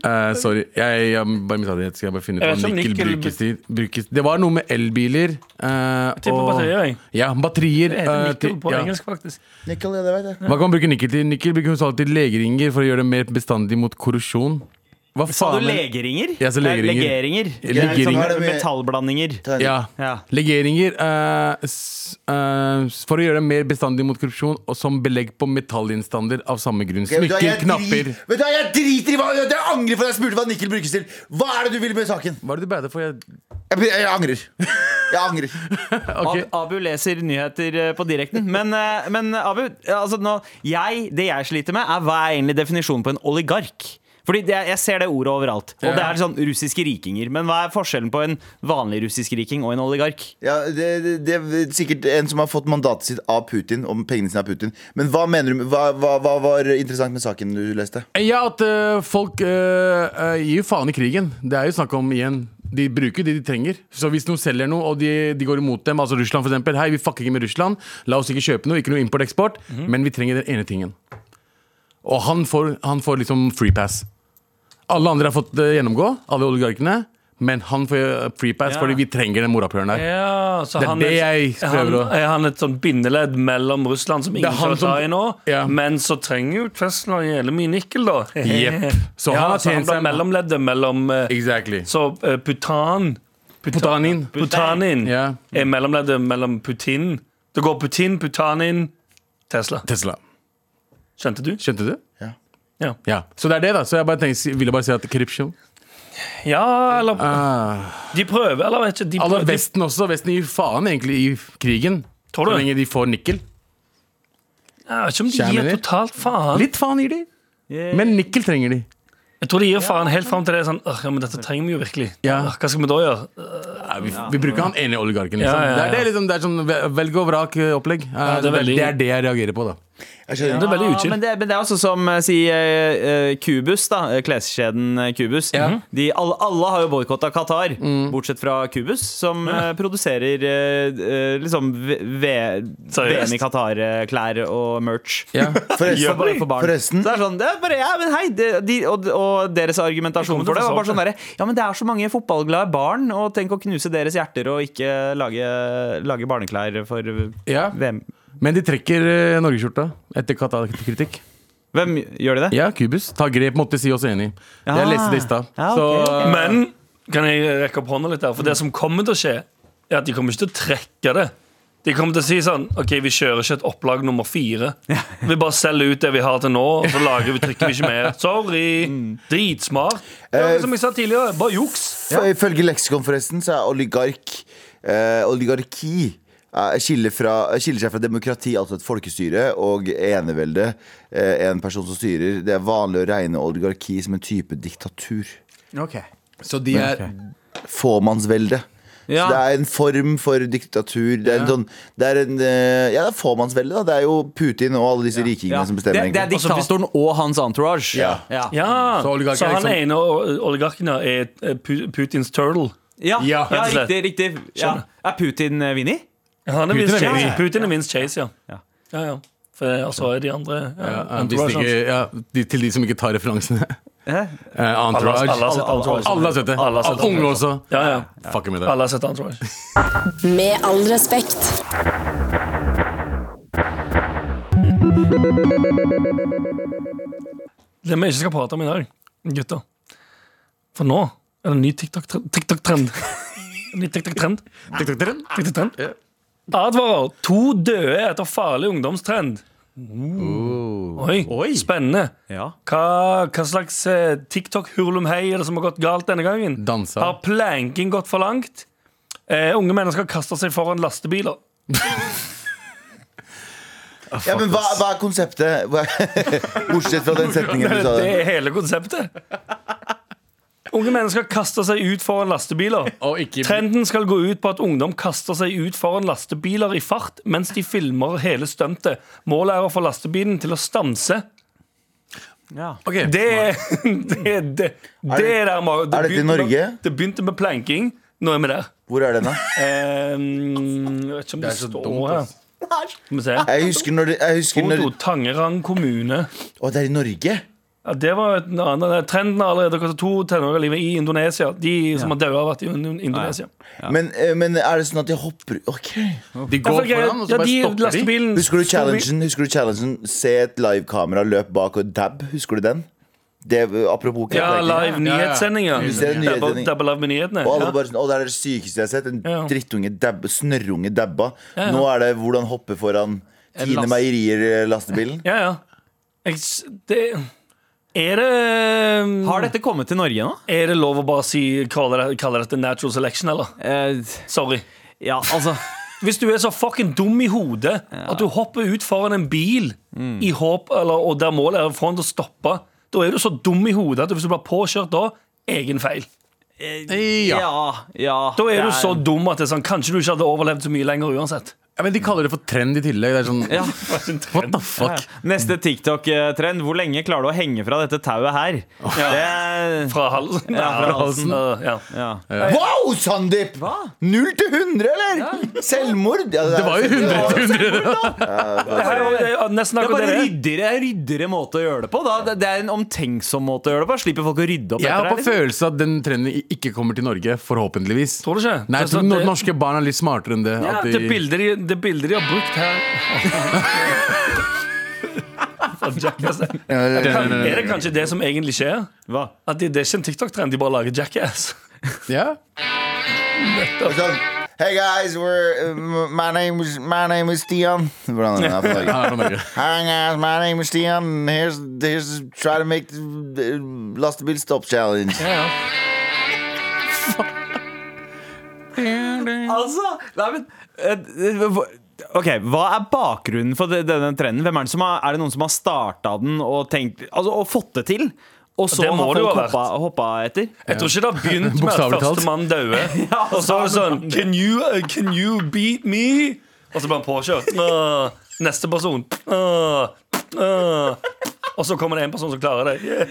[SPEAKER 3] Eh, sorry, jeg, jeg bare mista det. Skal jeg bare finne ut
[SPEAKER 2] Jeg vet
[SPEAKER 3] hva
[SPEAKER 2] ikke om
[SPEAKER 3] nikkel
[SPEAKER 2] nikkel-
[SPEAKER 3] brukes til? Brukes. Det var noe med elbiler. eh,
[SPEAKER 2] Tipper
[SPEAKER 3] og-
[SPEAKER 2] batterier, jeg.
[SPEAKER 3] Ja, batterier.
[SPEAKER 2] Det heter
[SPEAKER 3] eh,
[SPEAKER 2] nikkel
[SPEAKER 3] til-
[SPEAKER 2] på
[SPEAKER 3] ja.
[SPEAKER 2] engelsk, faktisk.
[SPEAKER 1] Nikkel, ja, det vet jeg.
[SPEAKER 3] Hva kan man bruke nikkel til? Nikkel bruker hovedsakelig til legeringer for å gjøre det mer bestandig mot korrosjon. Hva
[SPEAKER 5] Sa du
[SPEAKER 3] faen er-
[SPEAKER 5] legeringer?
[SPEAKER 3] Ja, så
[SPEAKER 5] Nei,
[SPEAKER 3] legeringer.
[SPEAKER 5] legeringer.
[SPEAKER 3] Legeringer.
[SPEAKER 1] Jeg som har det med-
[SPEAKER 5] Metallblandinger.
[SPEAKER 1] Ta en-
[SPEAKER 3] Ja.
[SPEAKER 5] Ja.
[SPEAKER 3] Legeringer eh, s, eh, for å gjøre det mer bestandig mot korrupsjon og som belegg på metallinnstander av samme grunn.
[SPEAKER 1] Ok, vet du hva,
[SPEAKER 3] Smykker,
[SPEAKER 1] jeg
[SPEAKER 3] knapper
[SPEAKER 1] dri- Vet du hva, jeg driter i hva Jeg angrer på at jeg spurte hva nikkel brukes til. Hva er det du vil med saken?
[SPEAKER 3] Hva er det du bader for? Jeg...
[SPEAKER 1] Jeg, jeg angrer. Jeg angrer.
[SPEAKER 3] Ok.
[SPEAKER 5] Ab Abu leser nyheter eh, på direkten. Men, eh, men eh, Abu, ja, altså nå, jeg, det jeg sliter med, er hva er egentlig definisjonen på en oligark? Fordi det, Jeg ser det ordet overalt. Og
[SPEAKER 3] Ja.
[SPEAKER 5] det er sånn russiske rikinger. Men hva er forskjellen på en vanlig russisk riking og en oligark?
[SPEAKER 1] Ja, det, det, det er sikkert en som har fått mandatet sitt av Putin, om pengene sine av Putin. Men hva mener du Hva, hva, hva var interessant med saken du leste?
[SPEAKER 3] Ja, at eh, folk eh, eh, gir jo faen i krigen. Det er jo snakk om igjen. De bruker det de trenger. Så hvis noen selger noe, og de, de går imot dem, altså Russland for eksempel Hei, vi fucker ikke med Russland. La oss ikke kjøpe noe, ikke noe import-eksport. Men vi trenger den ene tingen. Og han får, han får liksom free pass. Alle andre har fått eh, gjennomgå, alle oligarkene. Men han får eh, free pass
[SPEAKER 5] Ja.
[SPEAKER 3] fordi vi trenger den morapuleren
[SPEAKER 2] Eh.
[SPEAKER 3] der.
[SPEAKER 2] Ja, så
[SPEAKER 3] Det er
[SPEAKER 2] han
[SPEAKER 3] det jeg
[SPEAKER 2] er,
[SPEAKER 3] prøver å-
[SPEAKER 2] han, er han et sånn bindeledd mellom Russland, som ingen
[SPEAKER 3] er han
[SPEAKER 2] skal ta
[SPEAKER 3] som-
[SPEAKER 2] i nå,
[SPEAKER 3] Ja.
[SPEAKER 2] men så trenger jo Tesla jævlig mye nikkel, da.
[SPEAKER 3] Jepp. Så
[SPEAKER 2] ja,
[SPEAKER 3] han har
[SPEAKER 2] så han
[SPEAKER 3] tjent
[SPEAKER 2] blir
[SPEAKER 3] seg-
[SPEAKER 2] mellomleddet mellom eh,
[SPEAKER 3] Exactly.
[SPEAKER 2] Så eh, Putan
[SPEAKER 3] Putanin.
[SPEAKER 2] Putanin
[SPEAKER 3] Ja.
[SPEAKER 2] er mellomleddet mellom Putin. Det går Putin, Putanin, Tesla.
[SPEAKER 3] Tesla.
[SPEAKER 2] Skjønte du?
[SPEAKER 3] Skjønte du?
[SPEAKER 1] Ja.
[SPEAKER 2] Ja.
[SPEAKER 3] Ja. Så det er det, da. Så jeg bare tenkte, ville bare si at corruption
[SPEAKER 2] Ja, eller
[SPEAKER 3] Ah.
[SPEAKER 2] De prøver, eller vet ikke. De
[SPEAKER 3] Alle
[SPEAKER 2] prøver, de,
[SPEAKER 3] Vesten også. Vesten gir faen egentlig i krigen.
[SPEAKER 2] Tror du?
[SPEAKER 3] Så lenge de får nikkel.
[SPEAKER 2] jeg vet ikke om de
[SPEAKER 3] Skjermen
[SPEAKER 2] gir
[SPEAKER 3] din.
[SPEAKER 2] totalt faen.
[SPEAKER 3] Litt faen gir de, men nikkel trenger de.
[SPEAKER 2] Jeg tror de gir faen helt fram til det er sånn «Åh, ja, men dette trenger vi jo virkelig.
[SPEAKER 3] Ja.
[SPEAKER 2] «Åh, Hva skal vi da gjøre?
[SPEAKER 3] vi, vi bruker han ene oligarken, liksom.
[SPEAKER 2] Ja, ja, ja.
[SPEAKER 3] Det er det liksom, det er sånn ve- velg og vrak-opplegg.
[SPEAKER 2] det er veldig-
[SPEAKER 3] Eh, det er det jeg reagerer på, da.
[SPEAKER 1] Jeg skjønner.
[SPEAKER 2] Det er veldig
[SPEAKER 5] Ja,
[SPEAKER 2] utskilt.
[SPEAKER 5] men, det, men det er også som eh, si eh, eh, Cubus, da. eh, Kleskjeden eh, Cubus.
[SPEAKER 3] Ja.
[SPEAKER 5] De, alle, alle har jo boikotta Qatar, bortsett fra Cubus, som eh, produserer eh, eh, liksom v- v-
[SPEAKER 2] Seriøst?
[SPEAKER 5] VM i Qatar-klær og merch.
[SPEAKER 1] Forresten,
[SPEAKER 5] Bare for barn.
[SPEAKER 1] forresten
[SPEAKER 5] Så det er sånn, det er bare, ja, men hei, det, de, og, og deres argumentasjon
[SPEAKER 2] Jeg kommer til
[SPEAKER 5] for
[SPEAKER 2] å
[SPEAKER 5] det var
[SPEAKER 2] få
[SPEAKER 5] bare sånn
[SPEAKER 2] svar
[SPEAKER 5] derre Ja, men det er så mange fotballglade barn, og tenk å knuse deres hjerter og ikke lage, lage barneklær for
[SPEAKER 3] Ja.
[SPEAKER 5] VM.
[SPEAKER 3] Men de trekker eh, norgesskjorta etter Qatar-kritikk.
[SPEAKER 5] Hvem gjør de det?
[SPEAKER 3] Ja, Kubus. Ta grep, måtte si oss enig. Jeg leste det i stad.
[SPEAKER 5] Ja,
[SPEAKER 3] Så,
[SPEAKER 5] ok, ok.
[SPEAKER 2] Men kan jeg rekke opp hånda litt der? For det som kommer til å skje, er at de kommer ikke til å trekke det. De kommer til å si sånn OK, vi kjører ikke et opplag nummer fire. Vi bare selger ut det vi har til nå, og så lager vi, trykker vi ikke mer. Sorry. Dritsmart. Det er som jeg sa tidligere, bare juks.
[SPEAKER 1] f- Ifølge leksikon, forresten, så er oligark eh, Oligarki eh, skiller, fra, skiller seg fra demokrati, altså et folkestyre, og enevelde. Eh, en person som styrer. Det er vanlig å regne oligarki som en type diktatur.
[SPEAKER 3] så de er
[SPEAKER 1] Fåmannsvelde.
[SPEAKER 5] Ja.
[SPEAKER 1] Så det er en form for diktatur. Det er en sånn Det er en eh, Ja, det er fåmannsvelde, da. Det er jo Putin og alle disse rikingene
[SPEAKER 5] Ja.
[SPEAKER 1] som bestemmer,
[SPEAKER 5] det, det er
[SPEAKER 1] egentlig.
[SPEAKER 2] Og så hvis-
[SPEAKER 5] diktatoren og hans entourage.
[SPEAKER 1] Ja.
[SPEAKER 5] Ja.
[SPEAKER 2] Ja.
[SPEAKER 3] Så
[SPEAKER 2] Så,
[SPEAKER 3] oligarken er
[SPEAKER 2] han
[SPEAKER 3] liksom-
[SPEAKER 2] ene o- oligarken her er eh, Pu- Putins turtle.
[SPEAKER 5] Ja, ja,
[SPEAKER 3] rett
[SPEAKER 2] og slett.
[SPEAKER 5] riktig. riktig. Ja. Er Putin eh, Vinni?
[SPEAKER 2] Han er
[SPEAKER 3] Putin
[SPEAKER 2] Vince
[SPEAKER 3] er
[SPEAKER 2] Chase.
[SPEAKER 3] enig.
[SPEAKER 2] Putin er Vince Chase,
[SPEAKER 5] Ja.
[SPEAKER 2] ja. ja, ja. For, og så er de andre ja,
[SPEAKER 3] ja, hvis
[SPEAKER 2] entourage altså. hans.
[SPEAKER 3] ikke, ja, de, Til de som ikke tar referansene.
[SPEAKER 5] Hæ?
[SPEAKER 3] Eh, entourage.
[SPEAKER 2] Alle har sett Entourage.
[SPEAKER 3] Alle har sett det.
[SPEAKER 2] Alle har sett
[SPEAKER 3] Unge
[SPEAKER 2] Entourage.
[SPEAKER 3] også.
[SPEAKER 2] Ja, ja.
[SPEAKER 3] Fucker med det.
[SPEAKER 2] Alle har sett Entourage.
[SPEAKER 6] Med all respekt.
[SPEAKER 2] Det vi ikke skal prate om i dag, gutter. For nå er det en ny TikTok-trend. TikTok-trend. En ny TikTok-trend. TikTok-trend. Advarer. To døde etter farlig ungdomstrend.
[SPEAKER 1] Oh.
[SPEAKER 2] Oi,
[SPEAKER 5] Oi.
[SPEAKER 2] spennende.
[SPEAKER 5] Ja.
[SPEAKER 2] Hva, hva slags eh, TikTok-hurlumhei er det som har gått galt denne gangen?
[SPEAKER 3] Dansa.
[SPEAKER 2] Har planking gått for langt? Eh, unge mennesker kaster seg foran lastebiler.
[SPEAKER 1] Ja, men hva, hva er konseptet? Hva- Bortsett fra den setningen du sa.
[SPEAKER 2] Det
[SPEAKER 1] der.
[SPEAKER 2] er hele konseptet. Unge mennesker kaster seg ut foran lastebiler.
[SPEAKER 3] Og ikke
[SPEAKER 2] Trenden skal gå ut på at ungdom kaster seg ut foran lastebiler i fart mens de filmer hele stuntet. Målet er å få lastebilen til å stanse.
[SPEAKER 5] Ja.
[SPEAKER 3] Ok.
[SPEAKER 2] Det, det, det, det er der Mario.
[SPEAKER 1] er dette i
[SPEAKER 2] begynte
[SPEAKER 1] Norge?
[SPEAKER 2] Med, det begynte med planking. Nå er vi der.
[SPEAKER 1] Hvor er den, da?
[SPEAKER 2] Ehm, jeg vet ikke om det,
[SPEAKER 3] er så
[SPEAKER 2] står
[SPEAKER 3] dumt,
[SPEAKER 2] her.
[SPEAKER 3] ass.
[SPEAKER 2] Skal vi se.
[SPEAKER 1] Jeg husker når, jeg husker når
[SPEAKER 2] Foto, Tangerang kommune.
[SPEAKER 1] Å, det er i Norge?
[SPEAKER 2] Ja, det var et annet. Trenden har allerede gått to tenåringer i livet i Indonesia. De som har dødd, har vært i In- Indonesia.
[SPEAKER 1] Men, eh, men er det sånn at de hopper OK.
[SPEAKER 3] De
[SPEAKER 2] Ja,
[SPEAKER 3] går
[SPEAKER 2] for jeg-
[SPEAKER 3] foran, og så
[SPEAKER 2] ja,
[SPEAKER 3] bare
[SPEAKER 2] de
[SPEAKER 3] stopper de.
[SPEAKER 2] lastebilen
[SPEAKER 1] Husker du
[SPEAKER 2] sto vi-
[SPEAKER 1] challengen? Husker du challengen Se et livekamera, løp bak og dab. Husker du den? Det, apropos
[SPEAKER 2] Ja, live
[SPEAKER 3] ja.
[SPEAKER 2] nyhetssendinger.
[SPEAKER 1] Du ser nyhetssending.
[SPEAKER 2] Dabba- Dabba live med nyhetene.
[SPEAKER 1] Og alle
[SPEAKER 2] Ja.
[SPEAKER 1] bare sånn, å det er det sykeste jeg har sett. En
[SPEAKER 2] Ja.
[SPEAKER 1] drittunge dabba, snørrunge dabba.
[SPEAKER 2] ja.
[SPEAKER 1] Nå er det hvordan hoppe foran Tine eh,
[SPEAKER 3] last-
[SPEAKER 1] Meierier-lastebilen.
[SPEAKER 2] Ja, ja. Jeg, s- det er det um,
[SPEAKER 5] Har dette kommet til Norge nå?
[SPEAKER 2] Er det lov å bare si, kalle, det, kalle dette natural selection, eller?
[SPEAKER 5] Eh,
[SPEAKER 2] Sorry.
[SPEAKER 5] ja, altså
[SPEAKER 2] Hvis du er så fucking dum i hodet at du hopper ut foran en bil
[SPEAKER 5] Mm.
[SPEAKER 2] i håp, eller, og der målet er foran til å stoppe, da er du så dum i hodet at hvis du blir påkjørt da, egen feil.
[SPEAKER 5] eh,
[SPEAKER 3] Ja.
[SPEAKER 5] Ja, ja.
[SPEAKER 2] Da
[SPEAKER 5] det
[SPEAKER 2] er du så dum at det er sånn, kanskje du ikke hadde overlevd så mye lenger uansett.
[SPEAKER 3] Ja, men de kaller det for trend i tillegg. Det er sånn
[SPEAKER 5] ja.
[SPEAKER 3] What the fuck?
[SPEAKER 5] Neste TikTok-trend. Hvor lenge klarer du å henge fra dette tauet her? Det,
[SPEAKER 2] Fra halsen.
[SPEAKER 5] Ja, fra halsen.
[SPEAKER 2] Ja, altså, ja.
[SPEAKER 5] ja.
[SPEAKER 1] Wow, Sandeep! Null til 100, eller? Selvmord? Ja,
[SPEAKER 3] Det var jo 100 til 100!
[SPEAKER 2] Her er det- ja, eh, Nesten
[SPEAKER 5] Det er
[SPEAKER 2] akkurat
[SPEAKER 5] bare
[SPEAKER 2] det det er.
[SPEAKER 5] ryddigere, ryddigere måte å gjøre det på. Da. Det- Det er en omtenksom måte å gjøre det på. Slipper folk å rydde opp
[SPEAKER 3] Jeg har
[SPEAKER 5] etter
[SPEAKER 3] på
[SPEAKER 5] det.
[SPEAKER 3] følelse at den trenden ikke kommer til Norge, forhåpentligvis.
[SPEAKER 2] Tror du ikke? Altså,
[SPEAKER 3] Nei, jeg tror
[SPEAKER 2] Det-
[SPEAKER 3] no- norske barn er litt smartere enn det.
[SPEAKER 2] Ja,
[SPEAKER 3] at de-
[SPEAKER 2] det, bildet de, det bildet de har brukt her Fra Jackass. Er det kanskje det som egentlig skjer?
[SPEAKER 5] liksom. Hva?
[SPEAKER 2] At det, det er ikke en TikTok-trend, de bare lager Jackass.
[SPEAKER 3] Ja.
[SPEAKER 1] Sånn, Hey guys, we're, uh, my, name is, my name is Stian. Hvordan er det for Norge?
[SPEAKER 3] Ja, det er Norge.
[SPEAKER 1] Hi guys, my name is Stian. Here's, here's try to make the, the lastebil stop challenge.
[SPEAKER 5] Altså, nei, men eh, eh, hvor- Ok, Hva er bakgrunnen for det- denne trenden? Hvem Er det, som har, er det noen som har starta den og, tenkt, altså, og fått det til? Og så
[SPEAKER 2] Det
[SPEAKER 5] har
[SPEAKER 2] må det jo
[SPEAKER 5] folk
[SPEAKER 2] ha vært.
[SPEAKER 5] hoppa, hoppa etter?
[SPEAKER 2] Jeg tror ikke det har begynt med at
[SPEAKER 3] Bokstavelig talt.
[SPEAKER 2] førstemann dauer. Og så er
[SPEAKER 5] altså,
[SPEAKER 2] det sånn Can you, uh, can you beat me? Og så blir han påkjørt. Nå, neste person. Nå, nå. Og så kommer det en person som klarer det. Yeah.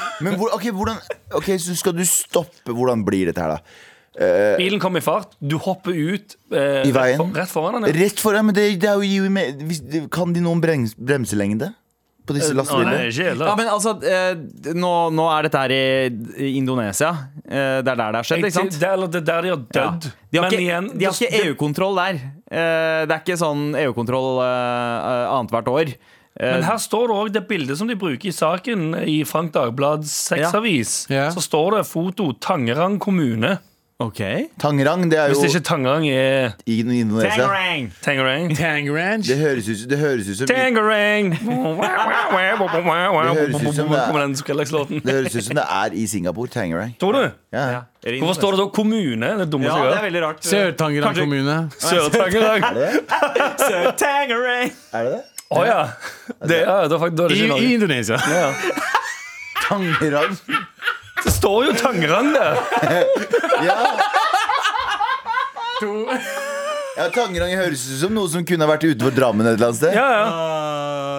[SPEAKER 1] Men hvor, ok, hvordan, ok, så skal du stoppe Hvordan blir dette her da?
[SPEAKER 2] Bilen kommer i fart. Du hopper ut eh,
[SPEAKER 1] I veien?
[SPEAKER 2] Rett, for, rett foran den. ja.
[SPEAKER 1] Rett foran, men det, det er jo gir jo med, hvis, Kan de noen brems, bremselengde? På disse
[SPEAKER 2] Å, nei,
[SPEAKER 1] lastebilene?
[SPEAKER 2] ikke heller.
[SPEAKER 5] Ja, men altså, eh, nå, nå er dette her i, i Indonesia. Eh, Det er der det har skjedd,
[SPEAKER 2] Jeg-
[SPEAKER 5] ikke sant?
[SPEAKER 2] Det, er- eller det er der de har
[SPEAKER 5] Ja.
[SPEAKER 2] dødd.
[SPEAKER 5] De har
[SPEAKER 2] Men
[SPEAKER 5] ikke,
[SPEAKER 2] igjen,
[SPEAKER 5] de har
[SPEAKER 2] det-
[SPEAKER 5] ikke EU-kontroll der. Eh, det er ikke sånn EU-kontroll uh, annethvert år. Eh,
[SPEAKER 2] Men her står det òg det bildet som de bruker i saken i Frank Dagblads sexavis.
[SPEAKER 3] Ja. Ja.
[SPEAKER 2] Så står det foto Tangerang kommune.
[SPEAKER 5] ok
[SPEAKER 1] Tangerang, det er
[SPEAKER 2] Hvis
[SPEAKER 1] jo
[SPEAKER 2] ikke Tangerang er
[SPEAKER 1] i Indonesia
[SPEAKER 5] Tangerang!
[SPEAKER 2] Tangerang.
[SPEAKER 3] Tang Ranch.
[SPEAKER 1] Det høres ut, det høres ut som Det
[SPEAKER 2] Tangerang!
[SPEAKER 1] høres ut som det er-
[SPEAKER 2] Kommer den Skrillex-låten.
[SPEAKER 1] høres ut som det er i Singapore, Tangerang
[SPEAKER 2] Tror du?
[SPEAKER 1] ja.
[SPEAKER 2] Hvorfor står det da kommune? Det er dumme
[SPEAKER 5] Ja,
[SPEAKER 2] som
[SPEAKER 5] det
[SPEAKER 2] gjør
[SPEAKER 5] er veldig rart.
[SPEAKER 3] Sør-Tangerang
[SPEAKER 2] Kanskje-
[SPEAKER 3] kommune.
[SPEAKER 2] Sør-Tangerang.
[SPEAKER 5] Sør-Tangerang!
[SPEAKER 1] Er det det?
[SPEAKER 2] Å ja. Det er, det er faktisk, da er
[SPEAKER 3] I,
[SPEAKER 2] det ikke
[SPEAKER 3] I
[SPEAKER 2] Norge.
[SPEAKER 3] Indonesia.
[SPEAKER 1] Tangerang
[SPEAKER 2] Det står jo Tangerang der.
[SPEAKER 1] Ja, ja Tangerang høres ut som noe som kunne ha vært utenfor Drammen et eller annet sted
[SPEAKER 2] Ja, ja.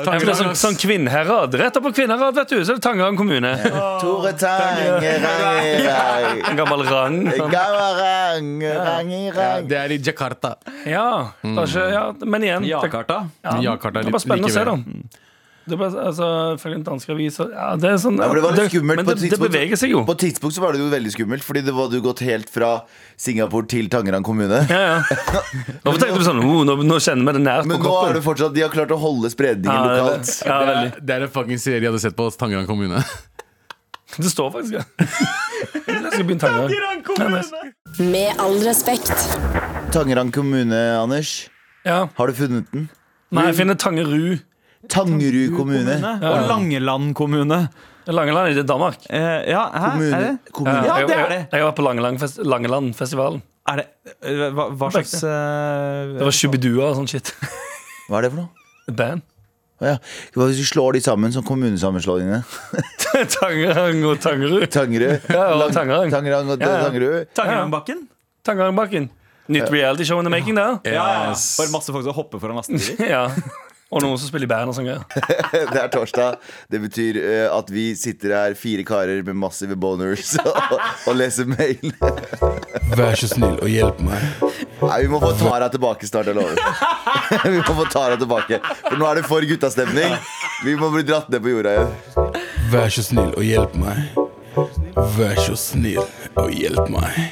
[SPEAKER 2] Ja, men det er sånn, sånn Kvinnherad. Rett opp på Kvinnherad, vet du, så er det Tangerang kommune.
[SPEAKER 1] Tore Tangerang
[SPEAKER 2] En gammel rang. Sånn.
[SPEAKER 1] Gavarang
[SPEAKER 3] Ja,
[SPEAKER 1] Rangerang
[SPEAKER 3] Det er i Jakarta.
[SPEAKER 2] Ja, det er ikke, ja, men igjen. det-
[SPEAKER 5] Jakarta.
[SPEAKER 2] Ja,
[SPEAKER 3] Jakarta er
[SPEAKER 2] det er
[SPEAKER 3] litt-
[SPEAKER 2] bare spennende å se, da. Mm.
[SPEAKER 3] likevel.
[SPEAKER 2] Det er bare, altså, Følge en dansk avis og, ja, det er sånn,
[SPEAKER 1] Ja, for det var litt skummelt
[SPEAKER 2] Men
[SPEAKER 1] på et
[SPEAKER 2] det, det
[SPEAKER 1] tidspunkt.
[SPEAKER 2] beveger seg jo.
[SPEAKER 1] På et tidspunkt så var det jo veldig skummelt, fordi det var du gått helt fra Singapore til Tangerang kommune.
[SPEAKER 2] Ja, ja. Nå tenkte du sånn oh, nå, nå kjenner vi det nært på
[SPEAKER 1] Men nå er
[SPEAKER 2] kroppen.
[SPEAKER 1] det fortsatt, de har klart å holde spredningen
[SPEAKER 2] Ja, det-
[SPEAKER 1] lokalt.
[SPEAKER 2] ja,
[SPEAKER 3] Det
[SPEAKER 2] veldig.
[SPEAKER 3] er, det er en fucking serie jeg hadde sett på oss, Tangerang kommune.
[SPEAKER 2] Det står faktisk ja. Jeg skal begynne Tangerang.
[SPEAKER 6] Med all respekt.
[SPEAKER 1] Tangerang kommune, Anders.
[SPEAKER 2] Ja.
[SPEAKER 1] Har du funnet den?
[SPEAKER 2] Nei, jeg finner Tangerud.
[SPEAKER 1] Tangerud kommune.
[SPEAKER 5] Og Langeland kommune.
[SPEAKER 2] Langeland er det Danmark.
[SPEAKER 5] Eh, ja, hæ?
[SPEAKER 1] Kommune.
[SPEAKER 5] Er det?
[SPEAKER 1] Kommune.
[SPEAKER 5] Ja, det er det.
[SPEAKER 2] Jeg, jeg har vært på Langelandfest- Langelandfestivalen.
[SPEAKER 5] Er det eh, hva, hva slags eh,
[SPEAKER 2] Det var Shubidua og sånn shit.
[SPEAKER 1] Hva er det for noe?
[SPEAKER 2] Et Band.
[SPEAKER 1] Å Ja. Hva Hvis du slår de sammen som kommunesammenslåingene.
[SPEAKER 2] Tangerang og Tangerud.
[SPEAKER 1] Tangerud.
[SPEAKER 2] Ja, og
[SPEAKER 1] Lang-
[SPEAKER 2] Tangerang.
[SPEAKER 1] Tangerang og
[SPEAKER 2] Ja, ja.
[SPEAKER 1] Tangerud.
[SPEAKER 5] Tangerudbakken?
[SPEAKER 2] Tangerangbakken. Nytt realityshow in the making der.
[SPEAKER 5] Ja, ja. Bare masse folk som hopper foran lastebiler.
[SPEAKER 2] Ja. Og noen som spiller i band og sånn greier.
[SPEAKER 1] Det er torsdag. Det betyr eh, at vi sitter her, fire karer med massive boners, og, og leser mail.
[SPEAKER 3] Vær så snill og hjelp meg.
[SPEAKER 1] Nei, vi må få Tara tilbake snart, jeg lover. Vi må få Tara tilbake. For nå er det for guttastemning. Vi må bli dratt ned på jorda igjen.
[SPEAKER 3] Vær så snill og hjelp meg. Vær så snill og hjelp meg.